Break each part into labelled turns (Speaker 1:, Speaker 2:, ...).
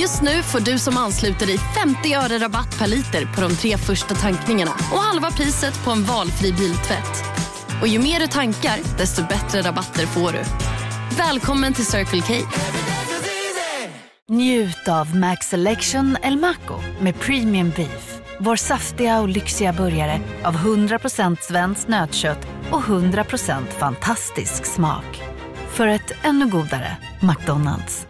Speaker 1: Just nu får du som ansluter dig 50 öre rabatt per liter på de tre första tankningarna och halva priset på en valfri biltvätt. Och ju mer du tankar, desto bättre rabatter får du. Välkommen till Circle K.
Speaker 2: Njut av Max Selection El Maco med Premium Beef. Vår saftiga och lyxiga burgare av 100% svenskt nötkött och 100% fantastisk smak. För ett ännu godare McDonalds.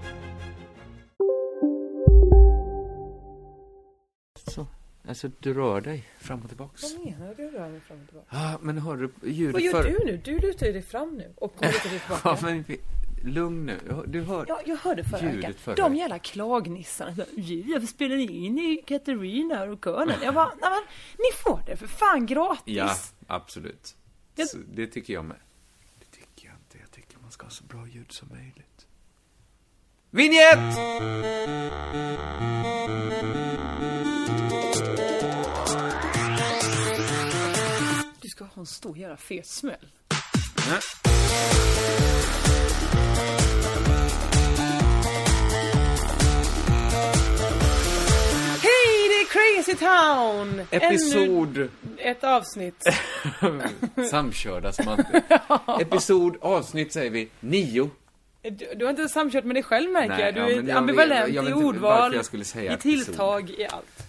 Speaker 3: Så. Alltså du rör dig fram och tillbaks.
Speaker 4: Vad menar du rör mig fram och tillbaka?
Speaker 3: Ah, men hör du ljudet
Speaker 4: Vad gör
Speaker 3: för...
Speaker 4: du nu? Du lutar ju dig fram nu och kommer inte dig tillbaka.
Speaker 3: Ja, men vi- lugn nu. Du hör...
Speaker 4: Ja, jag hörde förra
Speaker 3: Ljudet
Speaker 4: veckan.
Speaker 3: förra
Speaker 4: De
Speaker 3: veckan.
Speaker 4: jävla klagnissarna. Så, Jag spelar in i Katarina och Körnen. Jag bara, nej men ni får det för fan gratis.
Speaker 3: Ja, absolut.
Speaker 4: Jag-
Speaker 3: Så, det tycker jag med. Det tycker jag inte. Jag tycker man ska ha så bra ljud som möjligt. Vignett!
Speaker 4: Du ska ha en stor jävla fet smäll.
Speaker 3: Nej.
Speaker 4: Hej, det är Crazy Town! Ännu
Speaker 3: Episod...
Speaker 4: ett avsnitt.
Speaker 3: Samkörda som alltid. Episod, avsnitt säger vi, nio.
Speaker 4: Du, du har inte samkört med dig själv märker
Speaker 3: Nej,
Speaker 4: jag. Du
Speaker 3: ja,
Speaker 4: är
Speaker 3: men jag
Speaker 4: ambivalent
Speaker 3: vet- jag vet
Speaker 4: i
Speaker 3: inte
Speaker 4: ordval,
Speaker 3: varför jag skulle säga
Speaker 4: i
Speaker 3: episod.
Speaker 4: tilltag, i allt.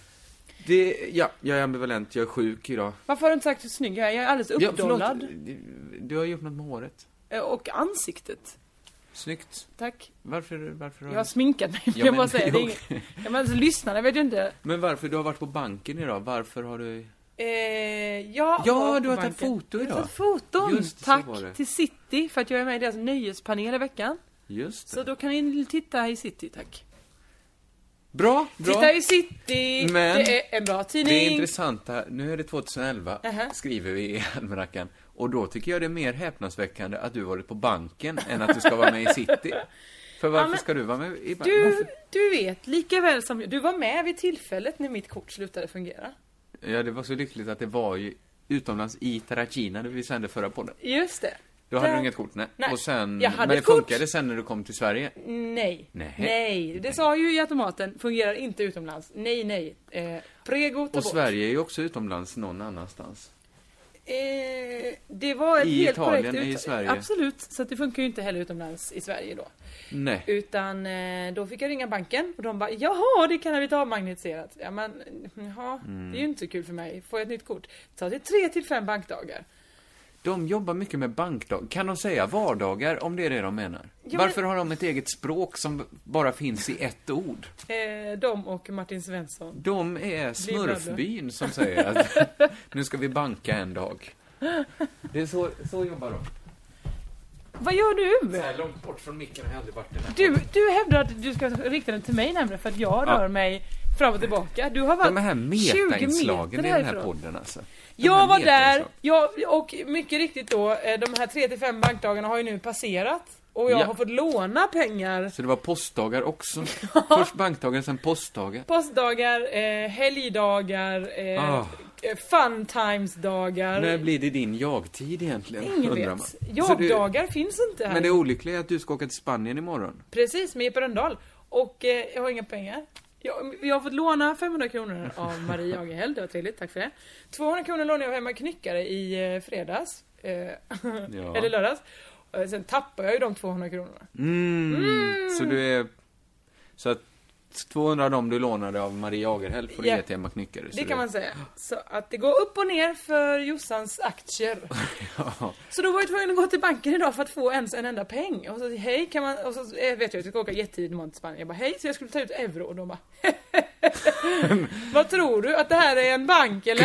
Speaker 3: Det, ja, jag är ambivalent, jag är sjuk idag.
Speaker 4: Varför har du inte sagt hur snygg jag är? Jag är alldeles
Speaker 3: Ja, förlåt,
Speaker 4: uppdollad.
Speaker 3: du- du har gjort något med håret.
Speaker 4: Eh, Och ansiktet.
Speaker 3: Snyggt.
Speaker 4: Tack.
Speaker 3: Varför, varför har
Speaker 4: Jag har
Speaker 3: du...
Speaker 4: sminkat mig,
Speaker 3: Mm. Ja,
Speaker 4: jag
Speaker 3: men-
Speaker 4: bara säger det. är
Speaker 3: jo.
Speaker 4: inget- Ja, men alltså, lyssnarna vet ju inte.
Speaker 3: Men varför, du har varit på banken idag, varför har du...
Speaker 4: Eh, jag
Speaker 3: Ja,
Speaker 4: var
Speaker 3: du
Speaker 4: på
Speaker 3: har tagit
Speaker 4: banken.
Speaker 3: foto
Speaker 4: Jag har
Speaker 3: idag.
Speaker 4: tagit foton!
Speaker 3: Just det, så
Speaker 4: Tack
Speaker 3: var det.
Speaker 4: till City för att jag är med i deras nöjespanel i veckan.
Speaker 3: Just
Speaker 4: Så
Speaker 3: det.
Speaker 4: då kan ni titta i City, tack.
Speaker 3: Bra, bra.
Speaker 4: Titta i City!
Speaker 3: Men-
Speaker 4: det är en bra
Speaker 3: Det är
Speaker 4: tidning!
Speaker 3: intressanta, nu är det 2011,
Speaker 4: Aha.
Speaker 3: skriver vi i almanackan. Och då tycker jag det är mer häpnadsväckande att du varit på banken än att du ska vara med i City. För varför
Speaker 4: men-
Speaker 3: ska du vara med i banken?
Speaker 4: Du, du vet lika väl som jag, du var med vid tillfället när mitt kort slutade fungera.
Speaker 3: Ja, det var så lyckligt att det var ju utomlands i Terracina, där vi sände förra podden.
Speaker 4: Just det.
Speaker 3: Då hade
Speaker 4: Där-
Speaker 3: du inget kort, nej.
Speaker 4: Nej,
Speaker 3: Och sen,
Speaker 4: jag hade
Speaker 3: men det
Speaker 4: ett kort.
Speaker 3: funkade sen när du kom till Sverige.
Speaker 4: Nej.
Speaker 3: Nej.
Speaker 4: Det sa ju i automaten, fungerar inte utomlands. Nej, nej. Eh, prego, ta
Speaker 3: Och
Speaker 4: bort.
Speaker 3: Sverige är ju också utomlands någon annanstans.
Speaker 4: Eh, det var ett
Speaker 3: I
Speaker 4: helt
Speaker 3: Italien,
Speaker 4: korrekt
Speaker 3: i
Speaker 4: ut-
Speaker 3: Sverige.
Speaker 4: Absolut, så att det funkar ju inte heller utomlands i Sverige då.
Speaker 3: Nej.
Speaker 4: Utan eh, då fick jag ringa banken och de bara Jaha, det kan vi ta avmagnetiserat. Ja men, jaha,
Speaker 3: Mm.
Speaker 4: det är ju inte så kul för mig. Får jag ett nytt kort? Så det är tre till fem bankdagar.
Speaker 3: De jobbar mycket med bankdag. Kan de säga vardagar om det är det de menar?
Speaker 4: men-
Speaker 3: Varför har de ett eget språk som bara finns i ett ord?
Speaker 4: Eh, de och Martin Svensson.
Speaker 3: De är smurfbyn som säger att nu ska vi banka en dag. Det är så, så jobbar de.
Speaker 4: Vad gör du?
Speaker 3: Så här långt bort från micken har jag aldrig varit. innan.
Speaker 4: Du, du hävdar att du ska rikta den till mig nämligen för att jag
Speaker 3: Ja.
Speaker 4: rör mig fram och tillbaka. Du har varit
Speaker 3: De här
Speaker 4: 20 meter
Speaker 3: metainslagen i den här
Speaker 4: härifrån.
Speaker 3: podden alltså. De här alltså.
Speaker 4: Jag var där,
Speaker 3: metainslagen.
Speaker 4: jag, och mycket riktigt då, eh, de här 3-5 bankdagarna har ju nu passerat. Och jag
Speaker 3: Ja.
Speaker 4: har fått låna pengar.
Speaker 3: Så det var postdagar också. Först bankdagen, sen postdagar.
Speaker 4: Postdagar, eh, helgdagar, eh,
Speaker 3: Ah.
Speaker 4: eh, fun times-dagar.
Speaker 3: När blir det din jag-tid egentligen?
Speaker 4: Ingen
Speaker 3: undrar man.
Speaker 4: vet.
Speaker 3: Så du-
Speaker 4: Jag-dagar finns inte här.
Speaker 3: Men det olyckliga är att du ska åka till Spanien imorgon.
Speaker 4: Precis, med Jeppe Rönndahl. Och eh, jag har inga pengar. Jag, jag har fått låna 500 kronor av Marie Agerhäll, det var trevligt, tack för det. 200 kronor lånade jag hemma i knyckare i eh, fredags. Eh, Eller lördags. Eh, Sen tappade jag ju de 200 kronorna.
Speaker 3: Mm. Så du är... Så att 200 av dem du lånade av Maria Agerhäll får du
Speaker 4: Ja.
Speaker 3: ge till Emma Knyckare. så
Speaker 4: Det kan man säga. Så att det går upp och ner för Jossans aktier.
Speaker 3: Ja.
Speaker 4: Så då var jag tvungen att gå till banken idag för att få ens en enda peng. Och så hej kan man, och så eh, vet jag att jag ska åka jättetidigt imorgon till Spanien. Jag bara hej, så jag skulle ta ut euro och de bara Vad tror du? Att det här är en bank eller?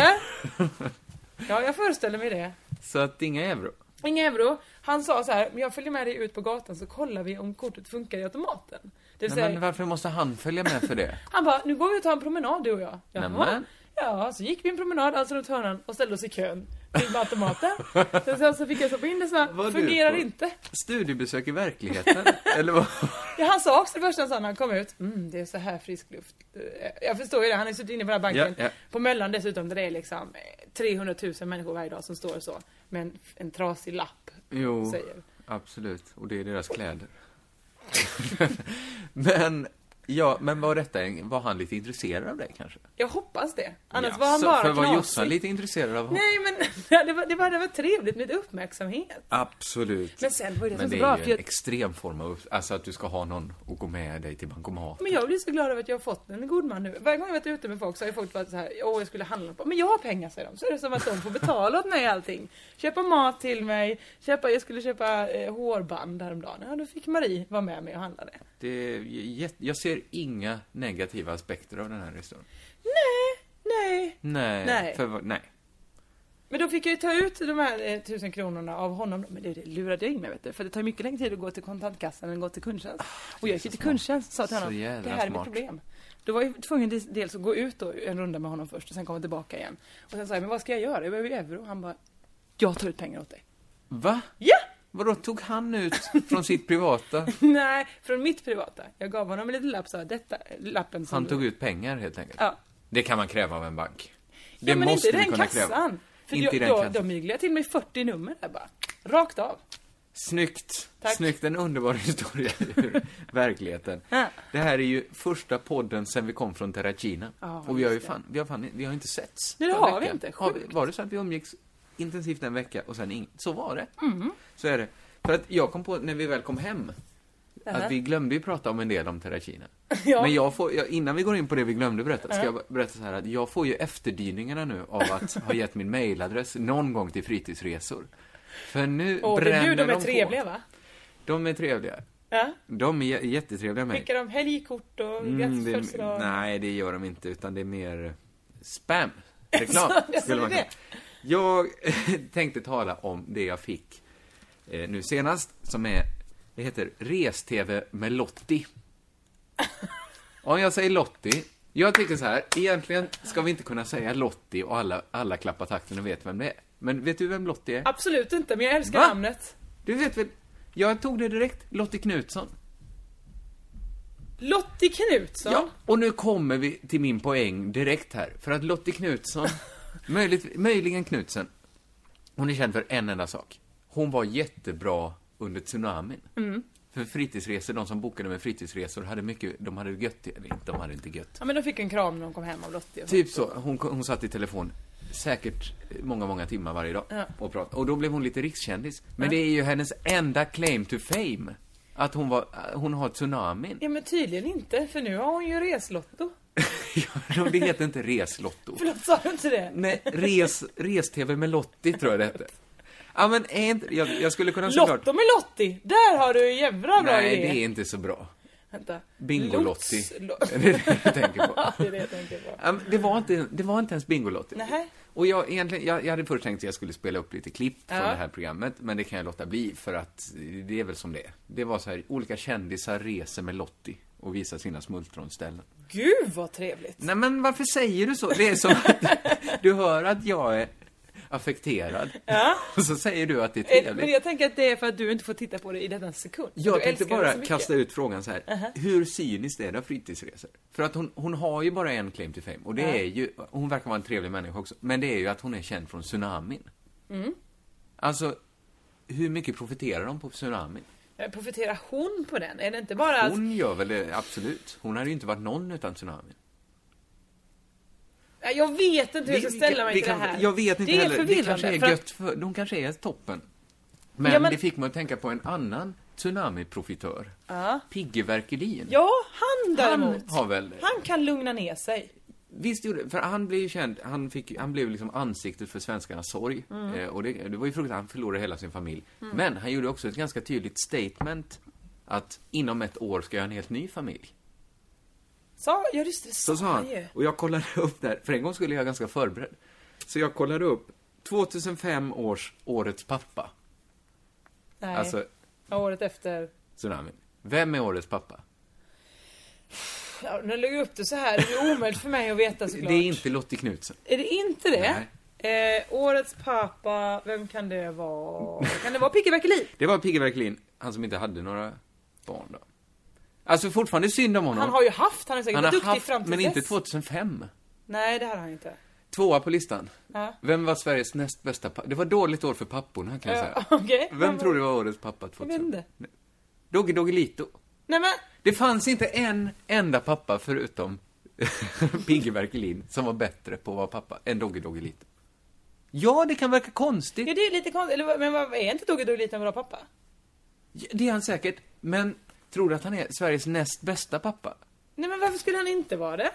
Speaker 4: Ja, jag föreställer mig det.
Speaker 3: Så att inga euro.
Speaker 4: Inga euro. Han sa så här, "Men jag följer med dig ut på gatan så kollar vi om kortet funkar i automaten. Det vill
Speaker 3: Nej,
Speaker 4: säga,
Speaker 3: men varför måste han följa med för det?
Speaker 4: han bara, nu går vi och tar en promenad du och jag. Jaha.
Speaker 3: Nämen.
Speaker 4: Ja, så gick vi en promenad alltså runt hörnan och ställde oss i kön till automaten. Sen så- så fick jag stoppa in det så här,
Speaker 3: Vad du
Speaker 4: fungerar
Speaker 3: på-
Speaker 4: inte.
Speaker 3: Studiebesök i verkligheten? Eller vad?
Speaker 4: Ja, han sa också det första han sa när han kom ut. Mm, det är så här frisk luft. Eh, Jag förstår ju det, han har ju suttit inne på den här banken.
Speaker 3: Ja, ja.
Speaker 4: På Möllan dessutom, där det är liksom eh, 300 000 människor varje dag som står så. Med en, en trasig lapp,
Speaker 3: Jo,
Speaker 4: säger.
Speaker 3: absolut. Och det är deras kläder. men, ja, men var detta, en- var han lite intresserad av dig kanske?
Speaker 4: Jag hoppas det. Annars
Speaker 3: Ja,
Speaker 4: var han
Speaker 3: så-
Speaker 4: bara
Speaker 3: För var Jossan
Speaker 4: knasig.
Speaker 3: lite intresserad av honom?
Speaker 4: Nej men, det var, det, var, det var trevligt med uppmärksamhet.
Speaker 3: Absolut.
Speaker 4: Men sen var ju det
Speaker 3: Men
Speaker 4: som
Speaker 3: det
Speaker 4: så
Speaker 3: är
Speaker 4: bra
Speaker 3: ju en
Speaker 4: för jag,
Speaker 3: extrem form av, upp- alltså att du ska ha någon att gå med dig till bankomat.
Speaker 4: Men jag blir så glad över att jag har fått en god man nu. Varje gång jag varit ute med folk så har ju folk varit så här, åh jag skulle handla på, men jag har pengar säger de. Så är det som att de får betala åt mig allting. Köpa mat till mig, köpa, jag skulle köpa eh, hårband häromdagen. Ja då fick Marie vara med mig och handla det.
Speaker 3: Det är jätte, jag ser inga negativa aspekter av den här historien.
Speaker 4: Nej, nej.
Speaker 3: Nej.
Speaker 4: Nej.
Speaker 3: För, vad- nej.
Speaker 4: Men då fick jag ju ta ut de här eh, tusen kronorna av honom. då. Men det, det lurade jag in mig vet du. För det tar mycket längre tid att gå till kontantkassan än att gå till kundtjänst. Och jag gick ju till kundtjänst sa till
Speaker 3: Ah, Så
Speaker 4: honom, det
Speaker 3: jävla
Speaker 4: här är mitt
Speaker 3: smart.
Speaker 4: problem. Då var jag tvungen till- dels att gå ut då, en runda med honom först och sen komma tillbaka igen. Och sen sa jag, men vad ska jag göra? Jag behöver ju euro. Han bara, jag tar ut pengar åt dig.
Speaker 3: Va?
Speaker 4: Ja!
Speaker 3: Vadå, tog han ut från sitt privata?
Speaker 4: Nej, från mitt privata. Jag gav honom en liten lapp sa, detta lappen som
Speaker 3: Han
Speaker 4: du-
Speaker 3: tog ut pengar helt enkelt?
Speaker 4: Ja.
Speaker 3: Det kan man kräva av en bank. Det
Speaker 4: ja, men
Speaker 3: måste
Speaker 4: inte i
Speaker 3: vi
Speaker 4: den
Speaker 3: kunna
Speaker 4: kassan.
Speaker 3: kräva.
Speaker 4: För
Speaker 3: Inte i
Speaker 4: jag,
Speaker 3: den
Speaker 4: då,
Speaker 3: kassan.
Speaker 4: då myglade jag till mig 40 nummer där bara. Rakt av.
Speaker 3: Snyggt!
Speaker 4: Tack.
Speaker 3: Snyggt, en underbar historia ur verkligheten.
Speaker 4: Ja.
Speaker 3: Det här är ju första podden sen vi kom från Terracina.
Speaker 4: Ja,
Speaker 3: och vi har ju
Speaker 4: just det.
Speaker 3: fan, vi har fan, vi har inte setts.
Speaker 4: Nej, det
Speaker 3: den
Speaker 4: har vi
Speaker 3: veckan.
Speaker 4: inte.
Speaker 3: Har vi-
Speaker 4: Sjukt.
Speaker 3: Var det så att vi umgicks intensivt en vecka och sen inget? Så var det.
Speaker 4: Mm.
Speaker 3: Så är det. För att jag kom på, när vi väl kom hem, att vi glömde ju prata om en del om Terracina.
Speaker 4: Ja.
Speaker 3: Men jag får, jag, innan vi går in på det vi glömde berätta, ska jag bara berätta så här att jag får ju efterdyningarna nu av att ha gett min mailadress någon gång till fritidsresor. För nu
Speaker 4: Och det är
Speaker 3: bränner
Speaker 4: nu de är
Speaker 3: på.
Speaker 4: trevliga va?
Speaker 3: De är trevliga.
Speaker 4: Ja.
Speaker 3: De är jä- jättetrevliga med.
Speaker 4: Skickar de helgkort och grattis
Speaker 3: Mm, det-
Speaker 4: födelsedag?
Speaker 3: nej, det gör de inte, utan det är mer spam. Reklam,
Speaker 4: Så- så
Speaker 3: skulle man
Speaker 4: det är
Speaker 3: kunna. Jag tänkte tala om det jag fick eh, nu senast, som är, det heter Res-TV med Lotti. Om jag säger Lotti, jag tycker så här, egentligen ska vi inte kunna säga Lotti och alla, alla klappar takten och vet vem det är. Men vet du vem Lotti är?
Speaker 4: Absolut inte, men jag älskar
Speaker 3: Va?
Speaker 4: namnet.
Speaker 3: Du vet väl? Jag tog det direkt, Lotti Knutsson.
Speaker 4: Lottie Knutsson.
Speaker 3: Ja, och nu kommer vi till min poäng direkt här. För att Lottie Knutsson, möjligt, möjligen Knutsen, hon är känd för en enda sak. Hon var jättebra under tsunamin. För fritidsresor, de som bokade med fritidsresor hade mycket, de hade det gött, eller inte, de hade inte gött.
Speaker 4: Ja, men de fick en kram när de kom hem av Lottie. och så.
Speaker 3: Typ så, hon, hon satt i telefon säkert många, många timmar varje dag
Speaker 4: Ja.
Speaker 3: och pratade. Och då blev hon lite rikskändis. Men det är ju hennes enda claim to fame. Att hon var, hon har tsunamin.
Speaker 4: Ja men tydligen inte, för nu har hon ju reslotto.
Speaker 3: Ja, det heter inte reslotto.
Speaker 4: Förlåt, sa du inte det?
Speaker 3: Nej, res, res-tv med Lotti tror jag det hette. Ja, men är inte, jag, jag skulle kunna såklart...
Speaker 4: Lotto med Lottie! Där har du en jävla bra
Speaker 3: Nej,
Speaker 4: idé!
Speaker 3: det är inte så bra.
Speaker 4: Vänta.
Speaker 3: Bingolotti.
Speaker 4: Lots- lo-
Speaker 3: Är det det du tänker på?
Speaker 4: Ja, det är det jag tänker på.
Speaker 3: Ja, men Det var inte, det var inte ens Bingolotti.
Speaker 4: Nähä.
Speaker 3: Och jag, egentligen, jag, jag hade först tänkt att jag skulle spela upp lite klipp från
Speaker 4: Ja.
Speaker 3: det här programmet, men det kan jag låta bli för att det är väl som det är. Det var så här, olika kändisar reser med Lotti och visar sina smultronställen.
Speaker 4: Gud vad trevligt!
Speaker 3: Nej men varför säger du så? Det är som att du hör att jag är affekterad.
Speaker 4: Ja.
Speaker 3: Och så säger du att det är
Speaker 4: Eh, Men
Speaker 3: trevligt.
Speaker 4: jag tänker att det är för att du inte får titta på det i denna sekund.
Speaker 3: Jag
Speaker 4: du
Speaker 3: tänkte
Speaker 4: älskar det
Speaker 3: bara
Speaker 4: så mycket.
Speaker 3: kasta ut frågan så här. Hur cyniskt är det av fritidsresor? För att hon, hon har ju bara en claim to fame. Och det är ju, hon verkar vara en trevlig människa också. Men det är ju att hon är känd från tsunamin.
Speaker 4: Mm.
Speaker 3: Alltså, hur mycket profiterar de på tsunamin?
Speaker 4: Eh, Profiterar hon på den? Är det inte bara att...
Speaker 3: Hon gör väl det, absolut. Hon hade ju inte varit någon utan tsunamin.
Speaker 4: Nej, Jag vet inte hur jag ska
Speaker 3: Vi- vi
Speaker 4: ställa mig till
Speaker 3: kan-
Speaker 4: det här.
Speaker 3: Jag vet inte
Speaker 4: det är
Speaker 3: heller. Det
Speaker 4: Förvirrande,
Speaker 3: kanske
Speaker 4: för
Speaker 3: är
Speaker 4: att-
Speaker 3: gött för, de kanske är toppen. Men,
Speaker 4: Ja, men-
Speaker 3: det fick mig att tänka på en annan tsunamiprofitör.
Speaker 4: Ja.
Speaker 3: Pigge Werkelin.
Speaker 4: Ja, han däremot.
Speaker 3: Han har väl...
Speaker 4: Han kan lugna ner sig.
Speaker 3: Visst gjorde För han blev ju känd, han, fick, han blev liksom ansiktet för svenskarnas sorg.
Speaker 4: Mm.
Speaker 3: Eh, och det, det var ju fruktansvärt, han förlorade hela sin familj. Men han gjorde också ett ganska tydligt statement att inom ett år ska jag ha en helt ny familj.
Speaker 4: Sa, ja just det,
Speaker 3: Så sa han.
Speaker 4: ju.
Speaker 3: Och jag kollade upp där, för en gång skulle jag ganska förberedd. Så jag kollade upp 2005 års Årets pappa.
Speaker 4: Nej,
Speaker 3: Alltså,
Speaker 4: ja, året efter.
Speaker 3: tsunamin. Vem är Årets pappa?
Speaker 4: Ja, när jag lägger upp det så här är det omöjligt för mig att veta såklart.
Speaker 3: Det är inte Lottie Knutsen.
Speaker 4: Är det inte det? Eh, årets pappa, vem kan det vara? Kan det vara Picke Bäckelin?
Speaker 3: Det var Pigge Verkelin, han som inte hade några barn då. Alltså fortfarande synd om honom.
Speaker 4: Han har ju haft, han är säkert
Speaker 3: Han
Speaker 4: duktig
Speaker 3: har
Speaker 4: fram
Speaker 3: haft,
Speaker 4: till
Speaker 3: men inte
Speaker 4: dess.
Speaker 3: 2005.
Speaker 4: Nej, det har han inte.
Speaker 3: Tvåa på listan.
Speaker 4: Ja.
Speaker 3: Vem var Sveriges näst bästa pappa? Det var dåligt år för papporna kan jag
Speaker 4: Ja,
Speaker 3: säga.
Speaker 4: okej.
Speaker 3: Vem,
Speaker 4: Vem
Speaker 3: tror
Speaker 4: var-
Speaker 3: du var årets pappa
Speaker 4: Jag vet
Speaker 3: 2000?
Speaker 4: inte.
Speaker 3: Dogge Doggelito.
Speaker 4: Nej men,
Speaker 3: Det fanns inte en enda pappa förutom Pigge Verkelin som var bättre på att vara pappa än Dogge Doggelito. Ja, det kan verka konstigt.
Speaker 4: ja, det är lite konstigt. Eller, vad- men vad, är inte Dogge Doggelito en bra pappa?
Speaker 3: Ja, Det är han säkert. Men tror du att han är Sveriges näst bästa pappa?
Speaker 4: Nej men varför skulle han inte vara det?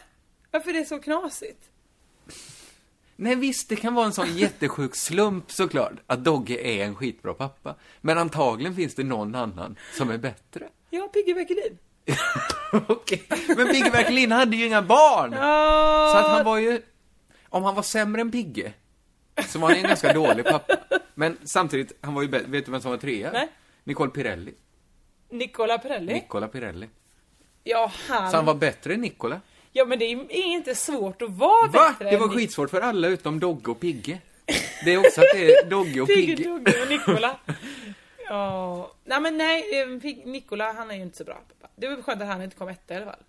Speaker 4: Varför är det så knasigt?
Speaker 3: Nej visst, det kan vara en sån jättesjuk slump såklart, att Dogge är en skitbra pappa. Men antagligen finns det någon annan som är bättre.
Speaker 4: Ja, Pigge Bäckelin.
Speaker 3: Okej. Men Pigge Verkelin hade ju inga barn! Så att han
Speaker 4: Ja,
Speaker 3: var ju... Om han var sämre än Pigge, så var han ju en ganska dålig pappa. Men samtidigt, han var ju bättre. Vet du vem som var trea?
Speaker 4: Nej.
Speaker 3: Nicole Pirelli.
Speaker 4: Nicola Perrelli.
Speaker 3: Nicola Pirelli.
Speaker 4: Mm. ja,
Speaker 3: Så han
Speaker 4: han.
Speaker 3: var bättre än Nicola.
Speaker 4: Ja, men det är inte svårt att vara
Speaker 3: Va?
Speaker 4: bättre
Speaker 3: Det var
Speaker 4: än Nic-
Speaker 3: skitsvårt för alla utom Dogge och Pigge. Det är också att det är Dogge och
Speaker 4: Pigge,
Speaker 3: Pigge.
Speaker 4: Dogge och Nicola. Ja, nej men nej, eh, Pig- Nicola han är ju inte så bra. pappa. Det var skönt att han inte kom etta i alla fall.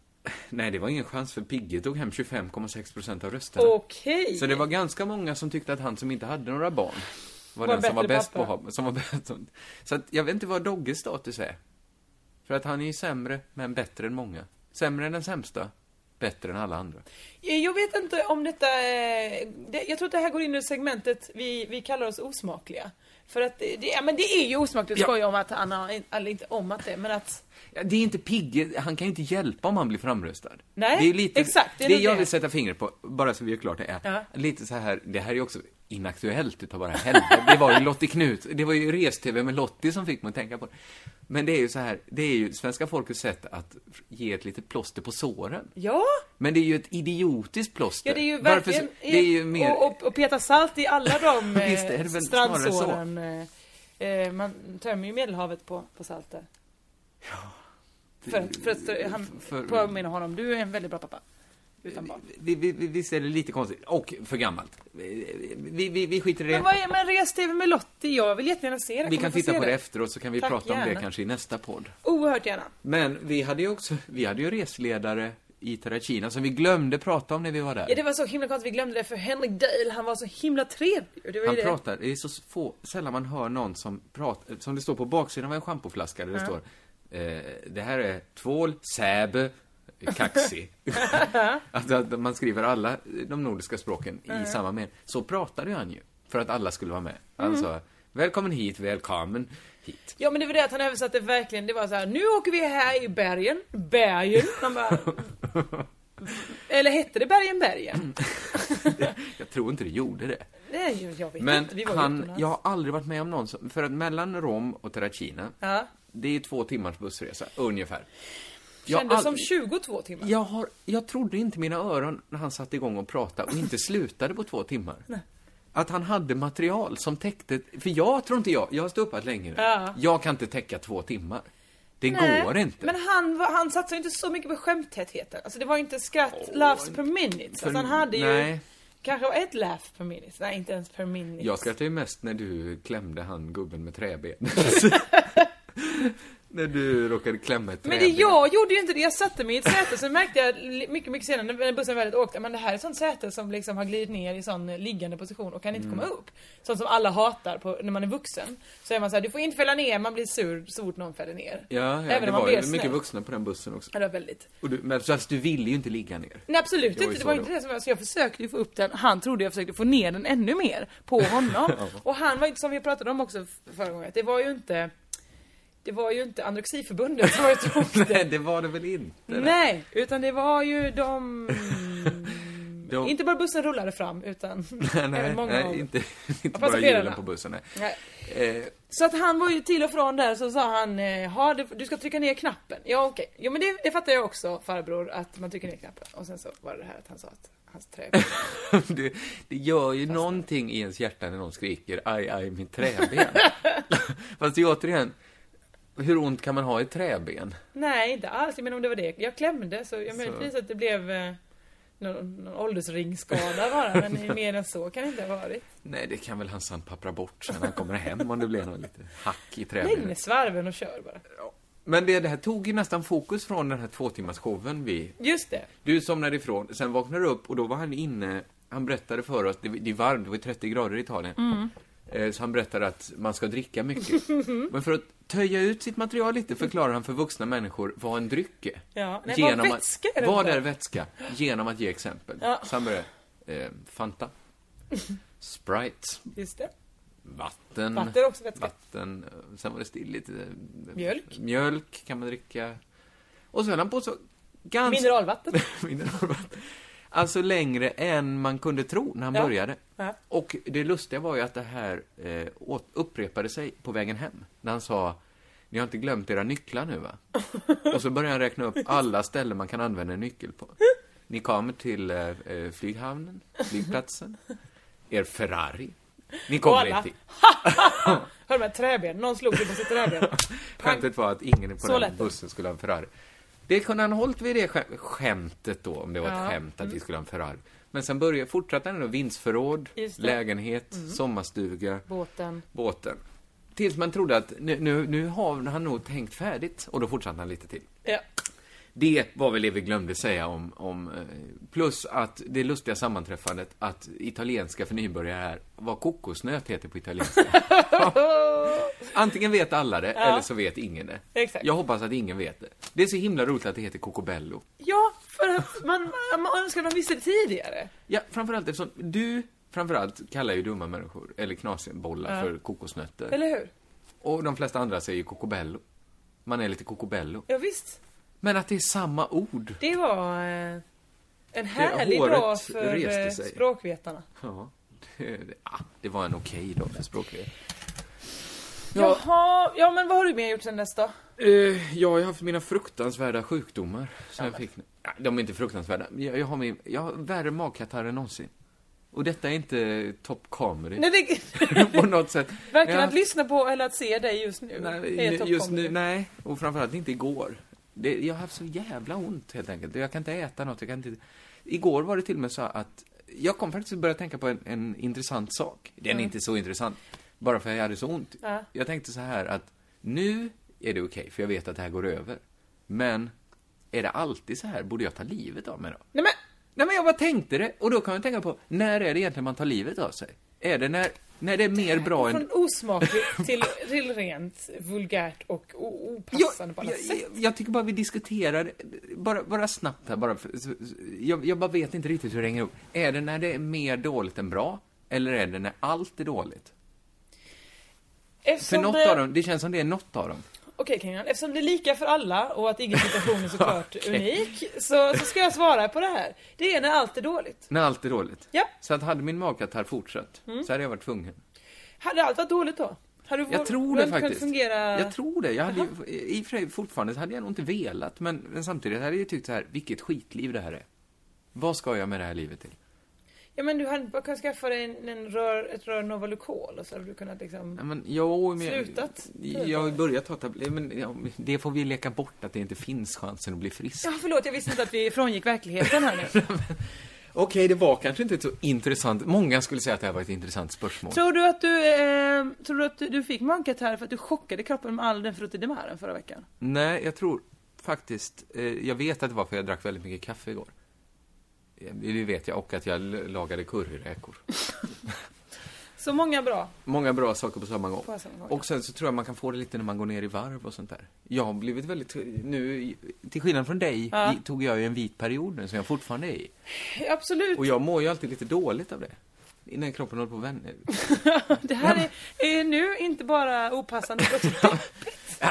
Speaker 3: Nej, det var ingen chans för Pigge tog hem 25,6 procent av rösterna.
Speaker 4: Okej.
Speaker 3: Så det var ganska många som tyckte att han som inte hade några barn var,
Speaker 4: Var
Speaker 3: den som var
Speaker 4: bättre
Speaker 3: bäst på
Speaker 4: pappa.
Speaker 3: honom. Som var bäst. som- Så att jag vet inte vad Dogges status är. För att han är ju sämre, men bättre än många. Sämre än den sämsta, bättre än alla andra.
Speaker 4: Eh, Jag vet inte om detta... eh, Det, jag tror att det här går in i segmentet vi, vi kallar oss osmakliga. För att det, det, ja, men det är ju osmakligt att
Speaker 3: Ja.
Speaker 4: skoja om att han har, eller inte om att det, men att...
Speaker 3: Ja, det är inte Pigge, han kan ju inte hjälpa om han blir framröstad.
Speaker 4: Nej,
Speaker 3: det är ju lite,
Speaker 4: exakt, det
Speaker 3: Det,
Speaker 4: är nog
Speaker 3: jag
Speaker 4: det.
Speaker 3: vill sätta fingret på, bara så vi gör klart det är,
Speaker 4: Ja.
Speaker 3: lite så här, det här är ju också inaktuellt utav bara helvete. Det var ju Lottie Knut, det var ju res-tv med Lottie som fick mig att tänka på det. Men det är ju så här, det är ju svenska folkets sätt att ge ett litet plåster på såren.
Speaker 4: Ja,
Speaker 3: Men det är ju ett idiotiskt plåster.
Speaker 4: ja det är ju
Speaker 3: Varför
Speaker 4: verkligen...
Speaker 3: så- det är ju mer...
Speaker 4: och, och, och peta salt i alla de eh,
Speaker 3: Visst är det väl snarare så.
Speaker 4: strandsåren. eh, eh, Man tömmer ju Medelhavet på, på salt där. För att, för att eh, han
Speaker 3: för-
Speaker 4: påminner honom, du är en väldigt bra pappa. Utan barn.
Speaker 3: vi, vi, vi, visst är det lite konstigt, och för gammalt. Vi, vi- vi, vi skiter i det.
Speaker 4: Men vad är men res-tv med Lottie? Jag vill jättegärna se det.
Speaker 3: Vi
Speaker 4: Kommer
Speaker 3: kan
Speaker 4: jag få
Speaker 3: titta
Speaker 4: se
Speaker 3: på det efteråt så kan vi
Speaker 4: Tack,
Speaker 3: prata om det
Speaker 4: gärna.
Speaker 3: kanske i nästa podd.
Speaker 4: Oerhört gärna.
Speaker 3: Men vi hade ju också, vi hade ju resledare i Terracina som vi glömde prata om när vi var där.
Speaker 4: Ja, det var så himla konstigt, vi glömde det för Henrik Dale, han var så himla trevlig. Och Det var
Speaker 3: Han
Speaker 4: ju det.
Speaker 3: pratar, det är så få, sällan man hör någon som pratar, som det står på baksidan av en schampoflaska där det står eh, Det här är tvål, säbe, kaxi. alltså att man skriver alla de nordiska språken i samma mening. Så pratade ju han ju, för att alla skulle vara med.
Speaker 4: Mm.
Speaker 3: Alltså, välkommen hit, välkommen hit.
Speaker 4: Ja men det var det att han översatte verkligen, det var så här: nu åker vi här i bergen, bergen. Man bara, eller hette det bergen, bergen?
Speaker 3: Jag tror inte det gjorde det.
Speaker 4: Nej, jag- jag vet
Speaker 3: Men
Speaker 4: inte, vi var ju
Speaker 3: han,
Speaker 4: utomlands.
Speaker 3: jag har aldrig varit med om någon som, för att mellan Rom och Terracina,
Speaker 4: Ja.
Speaker 3: det är två timmars bussresa, ungefär. Jag har
Speaker 4: Kändes som
Speaker 3: aldrig-
Speaker 4: 22 timmar.
Speaker 3: jag, har, jag trodde inte mina öron när han satte igång och pratade och inte slutade på två timmar. Att han hade material som täckte, för jag tror inte jag, jag har ståuppat länge nu.
Speaker 4: Ja.
Speaker 3: Jag kan inte täcka två timmar. Det
Speaker 4: Nej,
Speaker 3: går inte.
Speaker 4: Men han, var- han satsade ju inte så mycket på skämttätheten. Alltså det var ju inte skratt, laughs per minute. Alltså
Speaker 3: För-
Speaker 4: han hade ju
Speaker 3: nej.
Speaker 4: kanske ett laugh per minute. Nej, inte ens per minute.
Speaker 3: Jag skrattade ju mest när du klämde han gubben med träben. när du råkade klämma ett
Speaker 4: Men det
Speaker 3: träben.
Speaker 4: jag gjorde ju inte det, jag satte mig i ett säte sen märkte jag li- mycket, mycket senare när bussen väl åkte, men det här är ett sånt säte som liksom har glidit ner i sån eh, liggande position och kan inte
Speaker 3: Mm.
Speaker 4: komma upp. Sånt som alla hatar på, när man är vuxen. Så är man så här, du får inte fälla ner, man blir sur så fort någon fäller ner.
Speaker 3: Ja, ja
Speaker 4: Även
Speaker 3: det
Speaker 4: om man
Speaker 3: var
Speaker 4: blir
Speaker 3: ju mycket
Speaker 4: snäll.
Speaker 3: vuxna på den bussen också.
Speaker 4: Ja, det var väldigt.
Speaker 3: Och du, men så alltså, du ville ju inte ligga ner.
Speaker 4: Nej absolut
Speaker 3: Det var ju
Speaker 4: inte, det
Speaker 3: så
Speaker 4: var
Speaker 3: det
Speaker 4: inte det som var, så jag försökte ju få upp den, han trodde jag försökte få ner den ännu mer på honom. och han var ju inte, som vi pratade om också förra gången, att det var ju inte det var ju inte anorexiförbundet som var ute och åkte.
Speaker 3: Nej, det var det väl inte?
Speaker 4: Nej, utan det var ju de...
Speaker 3: De-
Speaker 4: Inte bara bussen rullade fram, utan
Speaker 3: nej,
Speaker 4: även
Speaker 3: nej,
Speaker 4: många av
Speaker 3: nej
Speaker 4: dem.
Speaker 3: inte, inte bara
Speaker 4: passagerarna.
Speaker 3: hjulen på bussen. Nej.
Speaker 4: Nej.
Speaker 3: Eh,
Speaker 4: Så att han var ju till och från där så sa han eh, "Ha, du- du ska trycka ner knappen. Ja okej, jo men det, det fattar jag också farbror att man trycker ner knappen. Och sen så var det det här att han sa att hans trä...
Speaker 3: det, det gör ju någonting i ens hjärta när någon skriker aj, aj, min träben. Fast det är återigen, Hur ont kan man ha i träben?
Speaker 4: Nej, inte alls. Men om det var det. Jag klämde, så jag möjligtvis att det blev eh, någon, någon åldersringskada bara. Men mer än så kan det inte ha varit.
Speaker 3: Nej, det kan väl han sandpappra bort sen han kommer hem om det blir något lite hack i
Speaker 4: Lägg ner
Speaker 3: träbenet.
Speaker 4: svarven och kör bara.
Speaker 3: Men det, det här tog ju nästan fokus från den här tvåtimmarsshowen vi...
Speaker 4: Just det.
Speaker 3: Du somnade ifrån, sen vaknade du upp och då var han inne... Han berättade för oss, det, det är varmt, det var ju 30 grader i Italien.
Speaker 4: Mm.
Speaker 3: Eh, Så han berättade att man ska dricka mycket. Men för att töja ut sitt material lite förklarar han för vuxna människor vad en dryck är.
Speaker 4: Ja, nej, vad vätska är
Speaker 3: att,
Speaker 4: det
Speaker 3: Vad
Speaker 4: för?
Speaker 3: är vätska? Genom att ge exempel.
Speaker 4: Ja.
Speaker 3: Så han började, eh, Fanta, Sprite,
Speaker 4: Just det.
Speaker 3: Vatten.
Speaker 4: Mm. Vatten är också vätska.
Speaker 3: Vatten. eh, Sen var det still lite... eh,
Speaker 4: Mjölk.
Speaker 3: Mjölk kan man dricka. Och så höll han på så... Ganska...
Speaker 4: Mineralvatten.
Speaker 3: Mineralvatten. Alltså längre än man kunde tro när han
Speaker 4: Ja.
Speaker 3: började.
Speaker 4: Ja.
Speaker 3: Och det lustiga var ju att det här eh, åt- upprepade sig på vägen hem. När han sa Ni har inte glömt era nycklar nu va? Och så började han räkna upp alla ställen man kan använda en nyckel på. Ni kommer till eh, eh, flyghamnen, flygplatsen, er Ferrari. Ni kommer
Speaker 4: alla.
Speaker 3: inte in.
Speaker 4: Hör de här träben? Någon slog dig på sitt träben.
Speaker 3: Skämtet var att ingen på
Speaker 4: Så
Speaker 3: den
Speaker 4: lätt.
Speaker 3: bussen skulle ha en Ferrari. Det kunde han hållit vid det skäm- skämtet då, om det var ett
Speaker 4: Ja. Mm.
Speaker 3: skämt att vi skulle ha en Ferrari. Men sen började, fortsatte han då, vindsförråd,
Speaker 4: Just det. Mm.
Speaker 3: lägenhet, sommarstuga,
Speaker 4: Båten.
Speaker 3: båten. Tills man trodde att nu, nu, nu har han nog tänkt färdigt och då fortsatte han lite till.
Speaker 4: Ja.
Speaker 3: Det var väl det vi glömde säga om, om eh, plus att det lustiga sammanträffandet att italienska för nybörjare här, vad kokosnöt heter på italienska. Antingen vet alla det, eller så vet ingen det.
Speaker 4: Exakt.
Speaker 3: Jag hoppas att ingen vet det. Det är så himla roligt att det heter cocobello.
Speaker 4: Ja, för att man, man önskar man visste det tidigare.
Speaker 3: Ja, framförallt eftersom du, framförallt, kallar ju dumma människor, eller knasenbollar, för kokosnötter.
Speaker 4: Eller hur?
Speaker 3: Och de flesta andra säger cocobello. Man är lite cocobello.
Speaker 4: Ja, visst.
Speaker 3: Men att det är samma ord.
Speaker 4: Det var eh, en härlig
Speaker 3: håret
Speaker 4: dag för
Speaker 3: reste
Speaker 4: eh,
Speaker 3: sig.
Speaker 4: språkvetarna.
Speaker 3: Ja, det, det- ah, det var en okej dag för språket.
Speaker 4: Jaha, ja men vad har du mer gjort sen dess då?
Speaker 3: Eh, jag har ju haft mina fruktansvärda sjukdomar som jag fick nu. Nej, de är inte fruktansvärda. men Jag, jag, har min, jag har värre magkatarr än någonsin. Och detta är inte top comedy
Speaker 4: Nej, det,
Speaker 3: på något sätt.
Speaker 4: varken
Speaker 3: Jag-
Speaker 4: att lyssna på eller att se dig just nu
Speaker 3: nej,
Speaker 4: är
Speaker 3: nu-
Speaker 4: topp
Speaker 3: just
Speaker 4: comedy.
Speaker 3: nu, nej. Och framförallt inte igår. Det, jag har haft så jävla ont helt enkelt. Jag kan inte äta något. Jag kan inte... Igår var det till och med så att jag kom faktiskt att börja tänka på en, en intressant sak. Den är inte så intressant, bara för att jag hade så ont.
Speaker 4: Ja.
Speaker 3: Jag tänkte så här att nu är det okej, för jag vet att det här går över. Men är det alltid så här? Borde jag ta livet av mig då?
Speaker 4: Nej men,
Speaker 3: Nej, men jag bara tänkte det. Och då kan jag tänka på, när är det egentligen man tar livet av sig? Är det när, när det är mer bra än...
Speaker 4: från osmakligt till, till rent vulgärt och o- opassande på alla
Speaker 3: jag,
Speaker 4: sätt.
Speaker 3: jag, jag tycker bara vi diskuterar, bara, bara snabbt här, bara, för- så- så- jag, jag bara vet inte riktigt hur det hänger ihop. Är det när det är mer dåligt än bra? Eller är det när allt är dåligt? För
Speaker 4: Eftersom
Speaker 3: något
Speaker 4: det,
Speaker 3: av dem, det känns som det är något av dem.
Speaker 4: Okej Kenyon, eftersom det är lika för alla och att ingen situation är såklart
Speaker 3: Okej.
Speaker 4: unik så, så ska jag svara på det här. Det är när allt är dåligt.
Speaker 3: När allt är dåligt.
Speaker 4: Ja.
Speaker 3: Så att hade min magkatarr fortsatt,
Speaker 4: Mm.
Speaker 3: så hade jag varit tvungen.
Speaker 4: Hade allt varit dåligt då? Hade
Speaker 3: Jag
Speaker 4: vår-
Speaker 3: tror
Speaker 4: vår
Speaker 3: det
Speaker 4: inte kunnat
Speaker 3: faktiskt.
Speaker 4: Fungera...
Speaker 3: Jag tror det. Jag hade ju, I och för sig, fortfarande så hade jag nog inte velat, men, men samtidigt hade jag ju tyckt så här, vilket skitliv det här är. Vad ska jag med det här livet till?
Speaker 4: Ja men du hade bara kunnat skaffa dig en, en rör, ett rör Novalucol och så hade du kunnat
Speaker 3: Ja,
Speaker 4: liksom...
Speaker 3: men, jo, men
Speaker 4: Slutat?
Speaker 3: Jag, jag har ju börjat ta tabletter, men ja, det får vi leka bort att det inte finns chansen att bli frisk.
Speaker 4: Ja förlåt, jag visste inte att vi frångick verkligheten här nu.
Speaker 3: Okej, det var kanske inte ett så intressant. Många skulle säga att det här var ett intressant spörsmål.
Speaker 4: tror du att du, eh, tror du att du, du fick mankat här för att du chockade kroppen med all den fruttidimären förra veckan?
Speaker 3: Nej, jag tror faktiskt, eh, jag vet att det var för jag drack väldigt mycket kaffe igår. Eh, Det vet jag, och att jag l- lagade curryräkor.
Speaker 4: Så många bra.
Speaker 3: Många bra saker på samma gång.
Speaker 4: På samma gång,
Speaker 3: Och sen så tror jag man kan få det lite när man går ner i varv och sånt där. Jag har blivit väldigt, eh, nu, till skillnad från dig,
Speaker 4: Ja.
Speaker 3: i- tog jag ju en vit period nu som jag fortfarande är i.
Speaker 4: Absolut.
Speaker 3: Och jag mår ju alltid lite dåligt av det. Innan kroppen håller på att vänja
Speaker 4: Det här är, är nu inte bara opassande fruktidimären.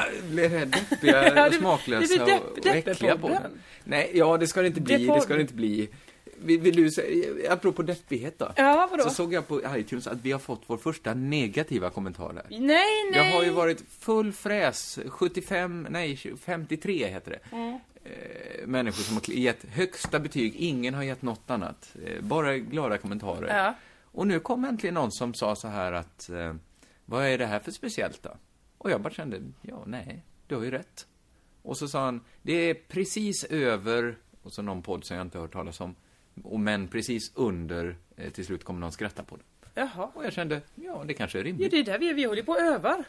Speaker 3: Jag blir rädd, deppiga,
Speaker 4: Ja,
Speaker 3: och
Speaker 4: det-
Speaker 3: smaklösa
Speaker 4: det blir depp-
Speaker 3: och, och
Speaker 4: deppepodden.
Speaker 3: äckliga på den. Nej, ja det ska det inte bli, det ska
Speaker 4: Deppodden.
Speaker 3: det inte bli. Vill, vill du säga, apropå deppighet då.
Speaker 4: Ja, vadå?
Speaker 3: Så såg jag på iTunes att vi har fått vår första negativa kommentar där.
Speaker 4: Nej, nej!
Speaker 3: Jag har ju varit full fräs, 75, nej 53 heter det. Eh, Människor som har kli- gett högsta betyg, ingen har gett något annat. Eh, Bara glada kommentarer.
Speaker 4: Ja.
Speaker 3: Och nu kom äntligen någon som sa så här att, eh, vad är det här för speciellt då? Och jag bara kände, ja nej, du har ju rätt. Och så sa han, det är precis över, och så någon podd som jag inte har hört talas om, och men precis under, eh, till slut kommer någon skratta på det.
Speaker 4: Jaha.
Speaker 3: Och jag kände, ja, det kanske är
Speaker 4: Ja,
Speaker 3: rimligt.
Speaker 4: det är där vi är. Vi håller på och övar.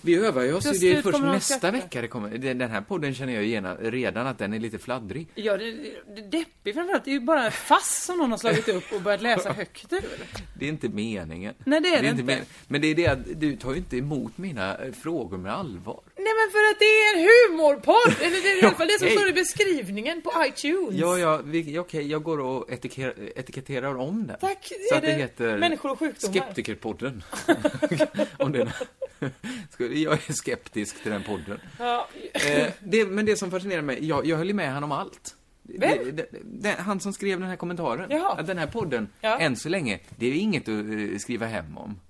Speaker 3: Vi övar ju oss,
Speaker 4: Till
Speaker 3: det är
Speaker 4: slut
Speaker 3: först
Speaker 4: kommer någon
Speaker 3: nästa
Speaker 4: skratta.
Speaker 3: vecka det kommer. Den den här podden känner jag ju gena- redan att den är lite fladdrig.
Speaker 4: Ja, det, det är deppigt framförallt. Det är ju bara en fass som någon har slagit upp och börjat läsa högt ur.
Speaker 3: Det är inte meningen.
Speaker 4: Nej, det är det inte.
Speaker 3: men- Men det är det att du tar ju inte emot mina eh, frågor med allvar.
Speaker 4: Nej men för att det är en humorpodd! Eller det är i alla fall det som
Speaker 3: Hej.
Speaker 4: står i beskrivningen på iTunes.
Speaker 3: Ja, ja, vi- okej, jag går och etikerar- etiketterar om den.
Speaker 4: Tack,
Speaker 3: Så
Speaker 4: är
Speaker 3: att det
Speaker 4: det
Speaker 3: heter
Speaker 4: Människor och sjukdomar?
Speaker 3: Skeptikerpodden. om den. Ska- Jag är skeptisk till den podden.
Speaker 4: Ja,
Speaker 3: Eh, det, men det som fascinerar mig, jag, jag höll ju med han om allt.
Speaker 4: Vem?
Speaker 3: Det- det- det- han som skrev den här kommentaren.
Speaker 4: Jaha.
Speaker 3: Att den här podden,
Speaker 4: Ja.
Speaker 3: än så länge, det är inget att eh, skriva hem om.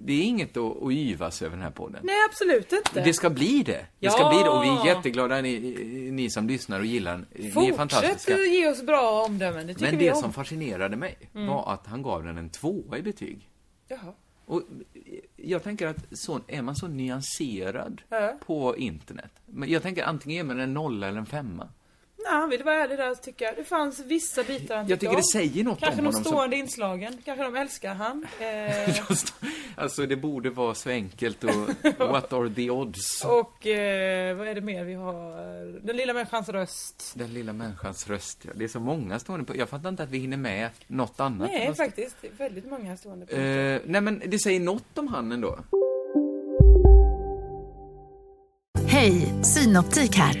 Speaker 3: Det är inget att, att yvas över den här podden.
Speaker 4: nej absolut inte.
Speaker 3: Det ska bli det. Det ska
Speaker 4: Ja.
Speaker 3: bli det och vi är jätteglada ni, ni som lyssnar och gillar den. Ni är
Speaker 4: Fortsätt
Speaker 3: fantastiska.
Speaker 4: att ge oss bra omdömen, det tycker
Speaker 3: Men
Speaker 4: vi
Speaker 3: det
Speaker 4: om. Mm.
Speaker 3: som fascinerade mig var att han gav den en tvåa i betyg.
Speaker 4: Jaha.
Speaker 3: Och jag tänker att så, är man så nyanserad
Speaker 4: Ja.
Speaker 3: på internet. Men jag tänker antingen ger man en nolla eller en femma.
Speaker 4: Nej, han ville vara ärlig där och tycka det fanns vissa bitar han
Speaker 3: Jag
Speaker 4: tyckte
Speaker 3: tycker det
Speaker 4: om.
Speaker 3: säger något
Speaker 4: Kanske
Speaker 3: om
Speaker 4: de
Speaker 3: honom. som-
Speaker 4: stående inslagen, kanske de älskar han. Eh,
Speaker 3: Just- alltså det borde vara så enkelt och what are the odds?
Speaker 4: och eh, vad är det mer vi har? Den lilla människans röst.
Speaker 3: Den lilla människans röst, ja. Det är så många stående på. Jag fattar inte att vi hinner med något annat.
Speaker 4: Nej
Speaker 3: Fast-
Speaker 4: faktiskt, det är väldigt många stående på.
Speaker 3: Eh, nej men det säger något om han ändå.
Speaker 2: Hej, Synoptik här.